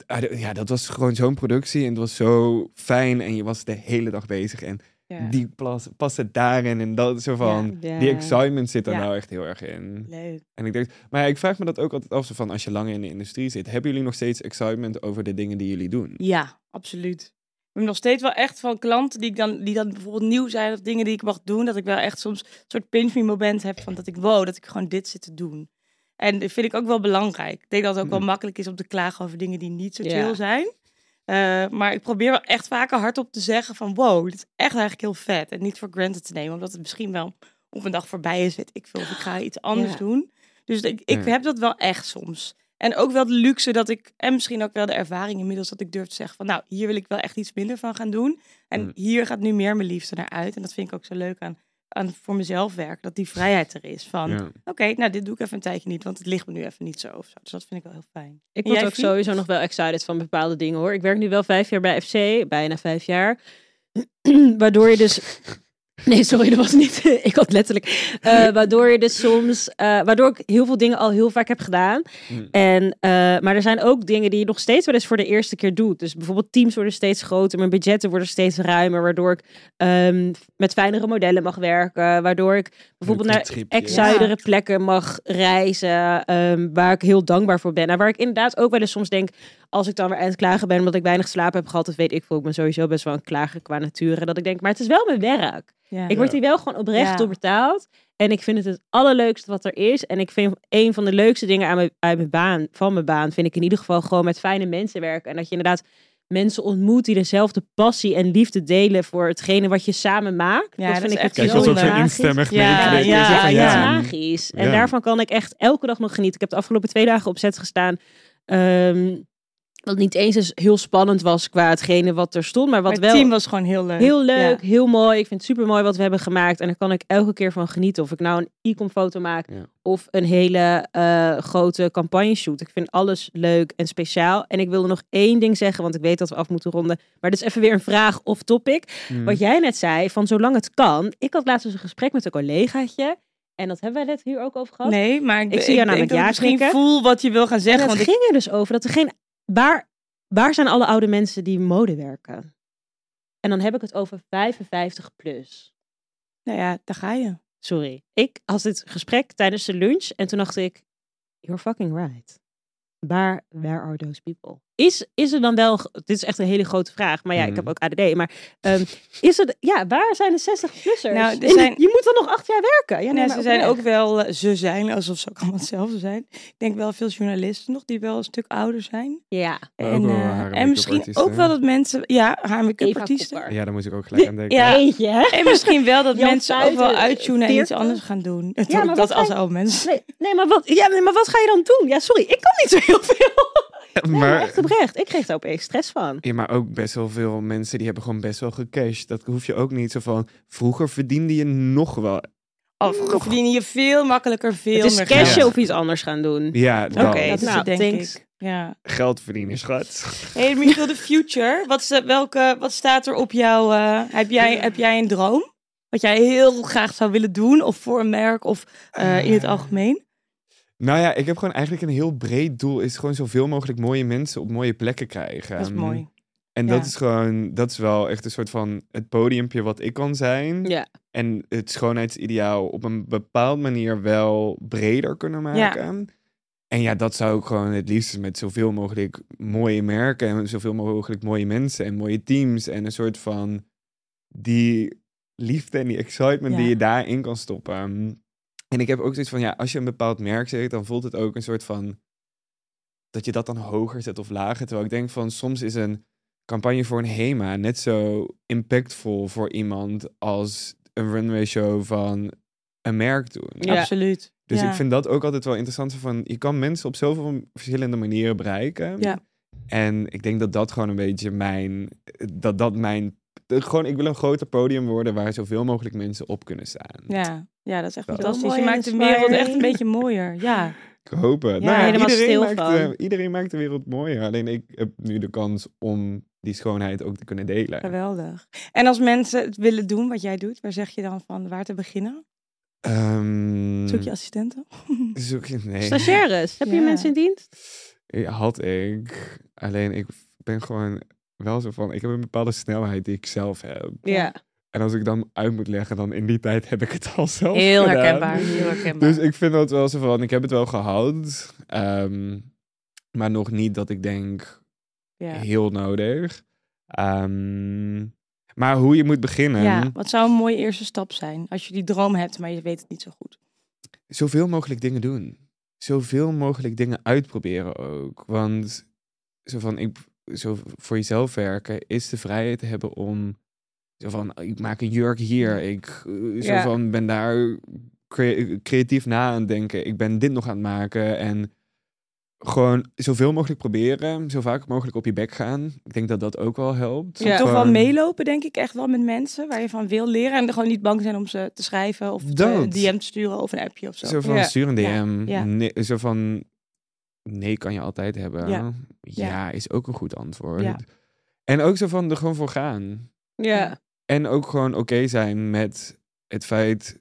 Speaker 3: Ah, d- ja, dat was gewoon zo'n productie. En het was zo fijn. En je was de hele dag bezig. En
Speaker 2: Ja.
Speaker 3: die plas, past het daarin. En dat zo van.
Speaker 1: Ja.
Speaker 3: Die excitement zit er
Speaker 2: Ja.
Speaker 3: nou echt heel erg in.
Speaker 2: Leuk.
Speaker 3: En ik denk, maar ja, ik vraag me dat ook altijd af. zo Van als je langer in de industrie zit, hebben jullie nog steeds excitement over de dingen die jullie doen?
Speaker 2: Ja, absoluut. Ik heb nog steeds wel echt van klanten die, ik dan, die dan bijvoorbeeld nieuw zijn of dingen die ik mag doen. Dat ik wel echt soms een soort pinch me moment heb van dat ik wow, dat ik gewoon dit zit te doen. En dat vind ik ook wel belangrijk. Ik denk dat het ook wel
Speaker 3: Mm.
Speaker 2: makkelijk is om te klagen over dingen die niet zo
Speaker 1: Ja.
Speaker 2: chill zijn. Eh, maar ik probeer wel echt vaker hardop te zeggen van wow, dit is echt eigenlijk heel vet. En niet voor granted te nemen, omdat het misschien wel op een dag voorbij is, weet ik veel. Of ik ga iets anders
Speaker 1: Ja.
Speaker 2: doen. Dus ik,
Speaker 1: Hmm.
Speaker 2: ik
Speaker 3: Ja.
Speaker 2: heb dat wel echt soms. En ook wel de luxe dat ik, en misschien ook wel de ervaring inmiddels, dat ik durf te zeggen van nou, hier wil ik wel echt iets minder van gaan doen. En
Speaker 1: Hmm.
Speaker 3: Mm.
Speaker 2: hier gaat nu meer mijn liefde naar uit. En dat vind ik ook zo leuk aan, aan voor mezelf werk, dat die vrijheid er is. Van
Speaker 3: Ja.
Speaker 2: oké, nou dit doe ik even een tijdje niet, want het ligt me nu even niet zo of zo. Dus dat vind ik wel heel fijn. En
Speaker 1: Ik word
Speaker 2: jij,
Speaker 1: ook
Speaker 2: Fie?
Speaker 1: sowieso nog wel excited van bepaalde dingen hoor. Ik werk nu wel vijf jaar bij FC, bijna vijf jaar. waardoor je dus. Nee, sorry, dat was niet. ik had letterlijk. Eh, waardoor je dus soms. eh, waardoor ik heel veel dingen al heel vaak heb gedaan.
Speaker 3: Mm.
Speaker 1: En, eh, maar er zijn ook dingen die je nog steeds wel eens voor de eerste keer doet. Dus bijvoorbeeld teams worden steeds groter, mijn budgetten worden steeds ruimer. Waardoor ik ehm, met fijnere modellen mag werken. Waardoor ik bijvoorbeeld naar
Speaker 3: tripje.
Speaker 1: exoidere plekken mag reizen. ehm, waar ik heel dankbaar voor ben. En waar ik inderdaad ook wel eens soms denk. Als ik dan weer aan het klagen ben omdat ik weinig slaap heb gehad. Of weet ik veel. Ik ben sowieso best wel een klager qua nature. Dat ik denk, maar het is wel mijn werk.
Speaker 2: Ja.
Speaker 1: Ik word hier wel gewoon oprecht
Speaker 2: Ja.
Speaker 1: door betaald. En ik vind het het allerleukste wat er is. En ik vind een van de leukste dingen aan mijn, uit mijn baan, van mijn baan, vind ik in ieder geval gewoon met fijne mensen werken. En dat je inderdaad mensen ontmoet die dezelfde passie en liefde delen voor hetgene wat je samen maakt.
Speaker 2: Ja,
Speaker 1: dat,
Speaker 2: dat
Speaker 1: vind
Speaker 2: is
Speaker 1: ik
Speaker 2: echt
Speaker 3: Kijk,
Speaker 2: Zo
Speaker 3: dat is ook zo
Speaker 1: magisch.
Speaker 3: instemmig
Speaker 2: Ja,
Speaker 3: meegeknikken.
Speaker 2: ja,
Speaker 3: Zo van,
Speaker 1: Ja, Mm.
Speaker 2: ja.
Speaker 1: dat is magisch. En
Speaker 3: Ja.
Speaker 1: daarvan kan ik echt elke dag nog genieten. Ik heb de afgelopen twee dagen op set gestaan. ehm, wat niet eens eens heel spannend was qua hetgene wat er stond. Maar wat
Speaker 2: Maar het
Speaker 1: wel
Speaker 2: team was gewoon heel leuk.
Speaker 1: Heel
Speaker 2: Eh, Ja.
Speaker 1: leuk, heel mooi. Ik vind het super mooi wat we hebben gemaakt. En daar kan ik elke keer van genieten. Of ik nou een e-com foto maak
Speaker 3: Ja.
Speaker 1: of een hele eh, grote campagne shoot. Ik vind alles leuk en speciaal. En ik wilde nog één ding zeggen, want ik weet dat we af moeten ronden. Maar dit is even weer een vraag of topic.
Speaker 3: Mm.
Speaker 2: Hm.
Speaker 1: Wat jij net zei, van zolang het kan. Ik had laatst dus een gesprek met een collegaatje. En dat hebben wij net hier ook over gehad.
Speaker 2: Nee, maar ik,
Speaker 1: Ik zie jou
Speaker 2: denk
Speaker 1: namelijk
Speaker 2: dat ik
Speaker 1: ja
Speaker 2: misschien
Speaker 1: knikken.
Speaker 2: voel wat je wil gaan
Speaker 1: en
Speaker 2: zeggen.
Speaker 1: het
Speaker 2: Want ik-
Speaker 1: ging er dus over dat er geen... Waar, waar zijn alle oude mensen die in mode werken? En dan heb ik het over 55 plus.
Speaker 2: nou ja, daar ga je.
Speaker 1: Sorry. Ik had dit gesprek tijdens de lunch en toen dacht ik, you're fucking right. Waar, where are those people? Is, is er dan wel, dit is echt een hele grote vraag, maar ja, ik
Speaker 3: Mhm.
Speaker 1: heb ook ADD, maar ehm, is er, ja, waar zijn de 60-plussers?
Speaker 2: Nou, er
Speaker 1: In-
Speaker 2: zijn-
Speaker 1: Je moet dan nog acht jaar werken. Ja, nee,
Speaker 2: Ja,
Speaker 1: maar
Speaker 2: ze zijn
Speaker 1: oprecht.
Speaker 2: ook wel, eh, ze zijn, alsof ze ook allemaal hetzelfde zijn. Ik denk wel veel journalisten nog die wel een stuk ouder zijn.
Speaker 1: Ja,
Speaker 3: Maar ook
Speaker 2: en
Speaker 3: wel
Speaker 2: eh,
Speaker 3: haar en make-up
Speaker 2: en misschien
Speaker 3: artiesten,
Speaker 2: ook
Speaker 3: hè?
Speaker 2: wel dat mensen, ja, haar make-up
Speaker 1: Eva
Speaker 2: artiesten.
Speaker 1: Kopper.
Speaker 3: Ja, daar moest ik ook gelijk aan denken.
Speaker 2: Ja.
Speaker 1: Eentje, hè?
Speaker 2: En misschien wel dat
Speaker 1: Jan
Speaker 2: mensen ook
Speaker 1: Fuiten,
Speaker 2: wel uittunen en iets
Speaker 1: 40.
Speaker 2: anders gaan doen.
Speaker 1: maar
Speaker 2: dat
Speaker 1: wat
Speaker 2: dat als
Speaker 1: zijn-
Speaker 2: oude mensen.
Speaker 1: Nee, nee, maar wat, ja, nee, maar wat ga je dan doen? Ja, sorry, ik kan niet zo heel veel. Nee, maar echt oprecht. Ik kreeg daar opeens stress van.
Speaker 3: Ja, maar ook best wel veel mensen die hebben gewoon best wel gecashed. Dat hoef je ook niet zo van. Vroeger verdiende je nog wel.
Speaker 2: Of of Oh, verdienen je veel makkelijker veel
Speaker 1: Het is
Speaker 2: meer
Speaker 1: cash
Speaker 2: geld.
Speaker 1: of iets anders gaan doen.
Speaker 3: Ja,
Speaker 1: Oké,
Speaker 3: dan
Speaker 1: Oké,
Speaker 2: Dat is
Speaker 1: Nou,
Speaker 2: het, denk
Speaker 1: thanks.
Speaker 2: ik. Ja.
Speaker 3: geld verdienen, schat.
Speaker 2: Hey, Michiel, de future. Wat, is- welke, wat staat er op jou? eh, heb, jij, heb jij een droom? Wat jij heel graag zou willen doen? Of voor een merk? Of eh, in het algemeen?
Speaker 3: Nou ja, ik heb gewoon eigenlijk een heel breed doel. Is gewoon zoveel mogelijk mooie mensen op mooie plekken krijgen. Ehm,
Speaker 2: Dat is mooi.
Speaker 3: En
Speaker 2: ja.
Speaker 3: dat is gewoon, dat is wel echt een soort van het podiumpje wat ik kan zijn.
Speaker 1: Ja.
Speaker 3: En het schoonheidsideaal op een bepaalde manier wel breder kunnen maken. En ja, dat zou ik gewoon het liefst met zoveel mogelijk mooie merken en zoveel mogelijk mooie mensen en mooie teams. En een soort van die liefde en die excitement die
Speaker 2: Ja.
Speaker 3: je daarin kan stoppen. En ik heb ook zoiets van, ja, als je een bepaald merk zegt, dan voelt het ook een soort van dat je dat dan hoger zet of lager. Terwijl ik denk van, soms is een campagne voor een HEMA net zo impactvol voor iemand als een runway show van een merk doen.
Speaker 1: Ja.
Speaker 2: Absoluut.
Speaker 3: Dus
Speaker 2: Ja.
Speaker 3: ik vind dat ook altijd wel interessant. zo Van, je kan mensen op zoveel verschillende manieren bereiken.
Speaker 2: Ja.
Speaker 3: En ik denk dat dat gewoon een beetje mijn... Dat dat mijn... Gewoon, ik wil een groter podium worden waar zoveel mogelijk mensen op kunnen staan.
Speaker 2: Ja. ja, dat is echt
Speaker 3: Zo
Speaker 2: fantastisch.
Speaker 1: mooi
Speaker 2: Je
Speaker 1: en
Speaker 2: maakt de wereld echt een
Speaker 1: inspiring.
Speaker 2: beetje mooier. Ja,
Speaker 3: Ik hoop het.
Speaker 2: Ja,
Speaker 3: Nou
Speaker 1: helemaal stil
Speaker 3: maakt,
Speaker 1: van.
Speaker 3: eh, iedereen maakt de wereld mooier. Alleen ik heb nu de kans om die schoonheid ook te kunnen delen.
Speaker 2: geweldig. En als mensen het willen doen wat jij doet, waar zeg je dan van waar te beginnen?
Speaker 3: Hmm. Ehm,
Speaker 2: Zoek je assistenten?
Speaker 3: Zoek je... Nee.
Speaker 1: Stagiaires, heb je
Speaker 2: Ja.
Speaker 1: mensen in dienst?
Speaker 3: Ja, Had ik. Alleen ik ben gewoon wel zo van... Ik heb een bepaalde snelheid die ik zelf heb.
Speaker 1: Ja.
Speaker 3: En als ik dan uit moet leggen, dan in die tijd heb ik het al zelf
Speaker 2: Heel
Speaker 3: gedaan.
Speaker 2: herkenbaar, heel herkenbaar.
Speaker 3: Dus ik vind dat wel zo van... Ik heb het wel gehaald. ehm, maar nog niet dat ik denk...
Speaker 2: Ja.
Speaker 3: heel nodig. Ehm, maar hoe je moet beginnen,
Speaker 2: ja, wat zou een mooie eerste stap zijn als je die droom hebt, maar je weet het niet zo goed?
Speaker 3: zoveel mogelijk dingen doen. Zoveel mogelijk dingen uitproberen ook. Want zo van, ik, zo voor jezelf werken is de vrijheid te hebben om... Zo van, ik maak een jurk hier. Ik eh, zo
Speaker 1: Ja.
Speaker 3: van, ben daar cre- creatief na aan het denken. Ik ben dit nog aan het maken. En gewoon zoveel mogelijk proberen. Zo vaak mogelijk op je bek gaan. Ik denk dat dat ook wel helpt.
Speaker 1: Ja.
Speaker 2: Toch wel
Speaker 3: Gewoon-
Speaker 2: meelopen, denk ik, echt wel met mensen waar je van wil leren. En er gewoon niet bang zijn om ze te schrijven of te-
Speaker 3: Dat.
Speaker 2: een DM te sturen of een appje of zo.
Speaker 3: Zo van
Speaker 1: Ja.
Speaker 3: stuur een
Speaker 2: Ja.
Speaker 3: DM.
Speaker 2: Ja.
Speaker 3: Nee, zo van nee kan je altijd hebben.
Speaker 2: Ja.
Speaker 3: Ja,
Speaker 2: Ja.
Speaker 3: is ook een goed antwoord.
Speaker 2: Ja.
Speaker 3: En ook zo van er gewoon voor gaan.
Speaker 1: Ja.
Speaker 3: En ook gewoon oké zijn met het feit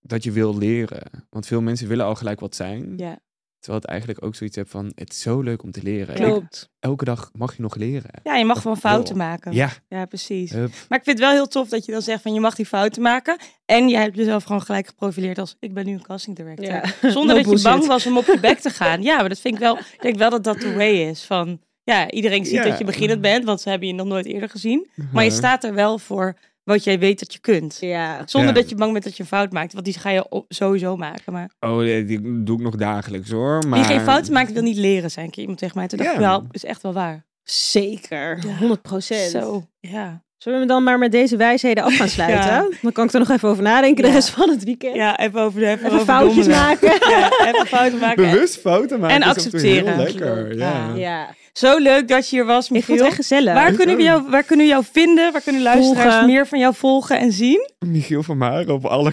Speaker 3: dat je wil leren. Want veel mensen willen al gelijk wat zijn.
Speaker 2: Ja.
Speaker 3: Terwijl het eigenlijk ook zoiets hebt van het is zo leuk om te leren.
Speaker 2: Ja.
Speaker 3: Ik-
Speaker 1: Klopt.
Speaker 3: elke dag mag je nog leren.
Speaker 2: ja, je mag gewoon fouten
Speaker 3: Lol.
Speaker 2: maken.
Speaker 3: Ja,
Speaker 2: Ja, precies.
Speaker 3: hup.
Speaker 2: Maar ik vind het wel heel tof dat je dan zegt van je mag die fouten maken. En jij hebt jezelf gewoon gelijk geprofileerd als ik ben nu een casting director.
Speaker 1: Ja.
Speaker 2: Zonder
Speaker 1: No
Speaker 2: dat je bang
Speaker 1: bullshit.
Speaker 2: was om op je bek te gaan. Ja, maar dat vind ik wel. Ik denk wel dat dat de way is. Van ja, iedereen ziet
Speaker 3: Ja. Mhm.
Speaker 2: dat je beginnend bent, want ze hebben je nog nooit eerder gezien. Maar je
Speaker 3: Ja.
Speaker 2: staat er wel voor wat jij weet dat je kunt.
Speaker 1: Ja.
Speaker 2: Zonder
Speaker 3: Ja.
Speaker 2: dat je bang bent dat je een fout maakt. Want die ga je o- sowieso maken. Maar,
Speaker 3: Oh, nee, die doe ik nog dagelijks hoor. Maar...
Speaker 2: wie geen fouten maakt wil niet leren zijn. Een keer iemand tegen mij. Toen dacht
Speaker 3: Ja.
Speaker 2: ik wel, is echt wel waar.
Speaker 1: Zeker.
Speaker 2: Ja.
Speaker 1: 100 procent.
Speaker 2: Zo, ja.
Speaker 1: Zullen we hem dan maar met deze wijsheden af gaan sluiten?
Speaker 2: Ja.
Speaker 1: Dan kan ik er nog even over nadenken
Speaker 2: Ja.
Speaker 1: de rest van het weekend.
Speaker 2: Ja, even over de even,
Speaker 1: Even
Speaker 2: over
Speaker 1: foutjes
Speaker 2: dommelen.
Speaker 1: maken.
Speaker 2: Ja, even fouten maken.
Speaker 3: Bewust fouten maken.
Speaker 2: En
Speaker 3: is af toe
Speaker 2: accepteren.
Speaker 3: Heel lekker.
Speaker 2: Klopt.
Speaker 3: Ja.
Speaker 1: Ja.
Speaker 2: Zo leuk dat je hier was,
Speaker 1: Ik vond het
Speaker 2: Michiel.
Speaker 1: echt gezellig.
Speaker 2: Waar kunnen, we jou, waar kunnen we jou vinden? Waar kunnen luisteraars
Speaker 1: Volgen.
Speaker 2: meer van jou volgen en zien?
Speaker 3: Michiel van Maren op alle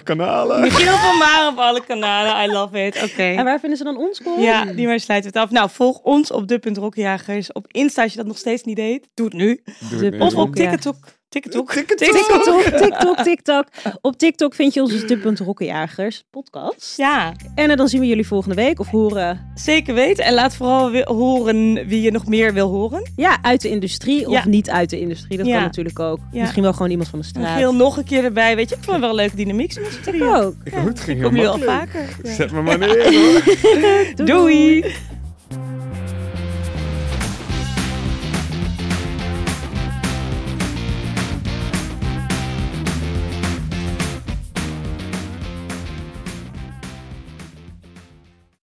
Speaker 3: kanalen.
Speaker 2: Michiel van Maren op alle kanalen. I love it. Oké.
Speaker 1: En waar vinden ze dan ons? Cor?
Speaker 2: Ja, die maar sluiten we het af. Nou, volg ons op de.rokkenjagers. Op Insta, als je dat nog steeds niet deed, doe het nu.
Speaker 3: Doe
Speaker 1: De
Speaker 3: het nu.
Speaker 2: Of op
Speaker 1: Ja.
Speaker 2: TikTok. TikTok.
Speaker 3: TikTok.
Speaker 1: TikTok, TikTok, TikTok. Op TikTok vind je ons dus de Rokkenjagers podcast.
Speaker 2: Ja,
Speaker 1: En eh, dan zien we jullie volgende week of horen
Speaker 2: zeker weten. En laat vooral wi- horen wie je nog meer wil horen.
Speaker 1: ja, uit de industrie of
Speaker 2: Ja.
Speaker 1: niet uit de industrie. Dat
Speaker 2: Ja.
Speaker 1: kan natuurlijk ook.
Speaker 2: Ja.
Speaker 1: Misschien wel gewoon iemand van de straat.
Speaker 2: Michiel nog een keer erbij. Weet je, ik vond het wel een leuke dynamiek. Ze met z'n drieën.
Speaker 1: ook.
Speaker 3: Ik hoop het ging heel
Speaker 2: Kom nu al
Speaker 3: makkelijk.
Speaker 2: vaker. Ja.
Speaker 3: Zet me maar neer. hoor.
Speaker 2: Doei.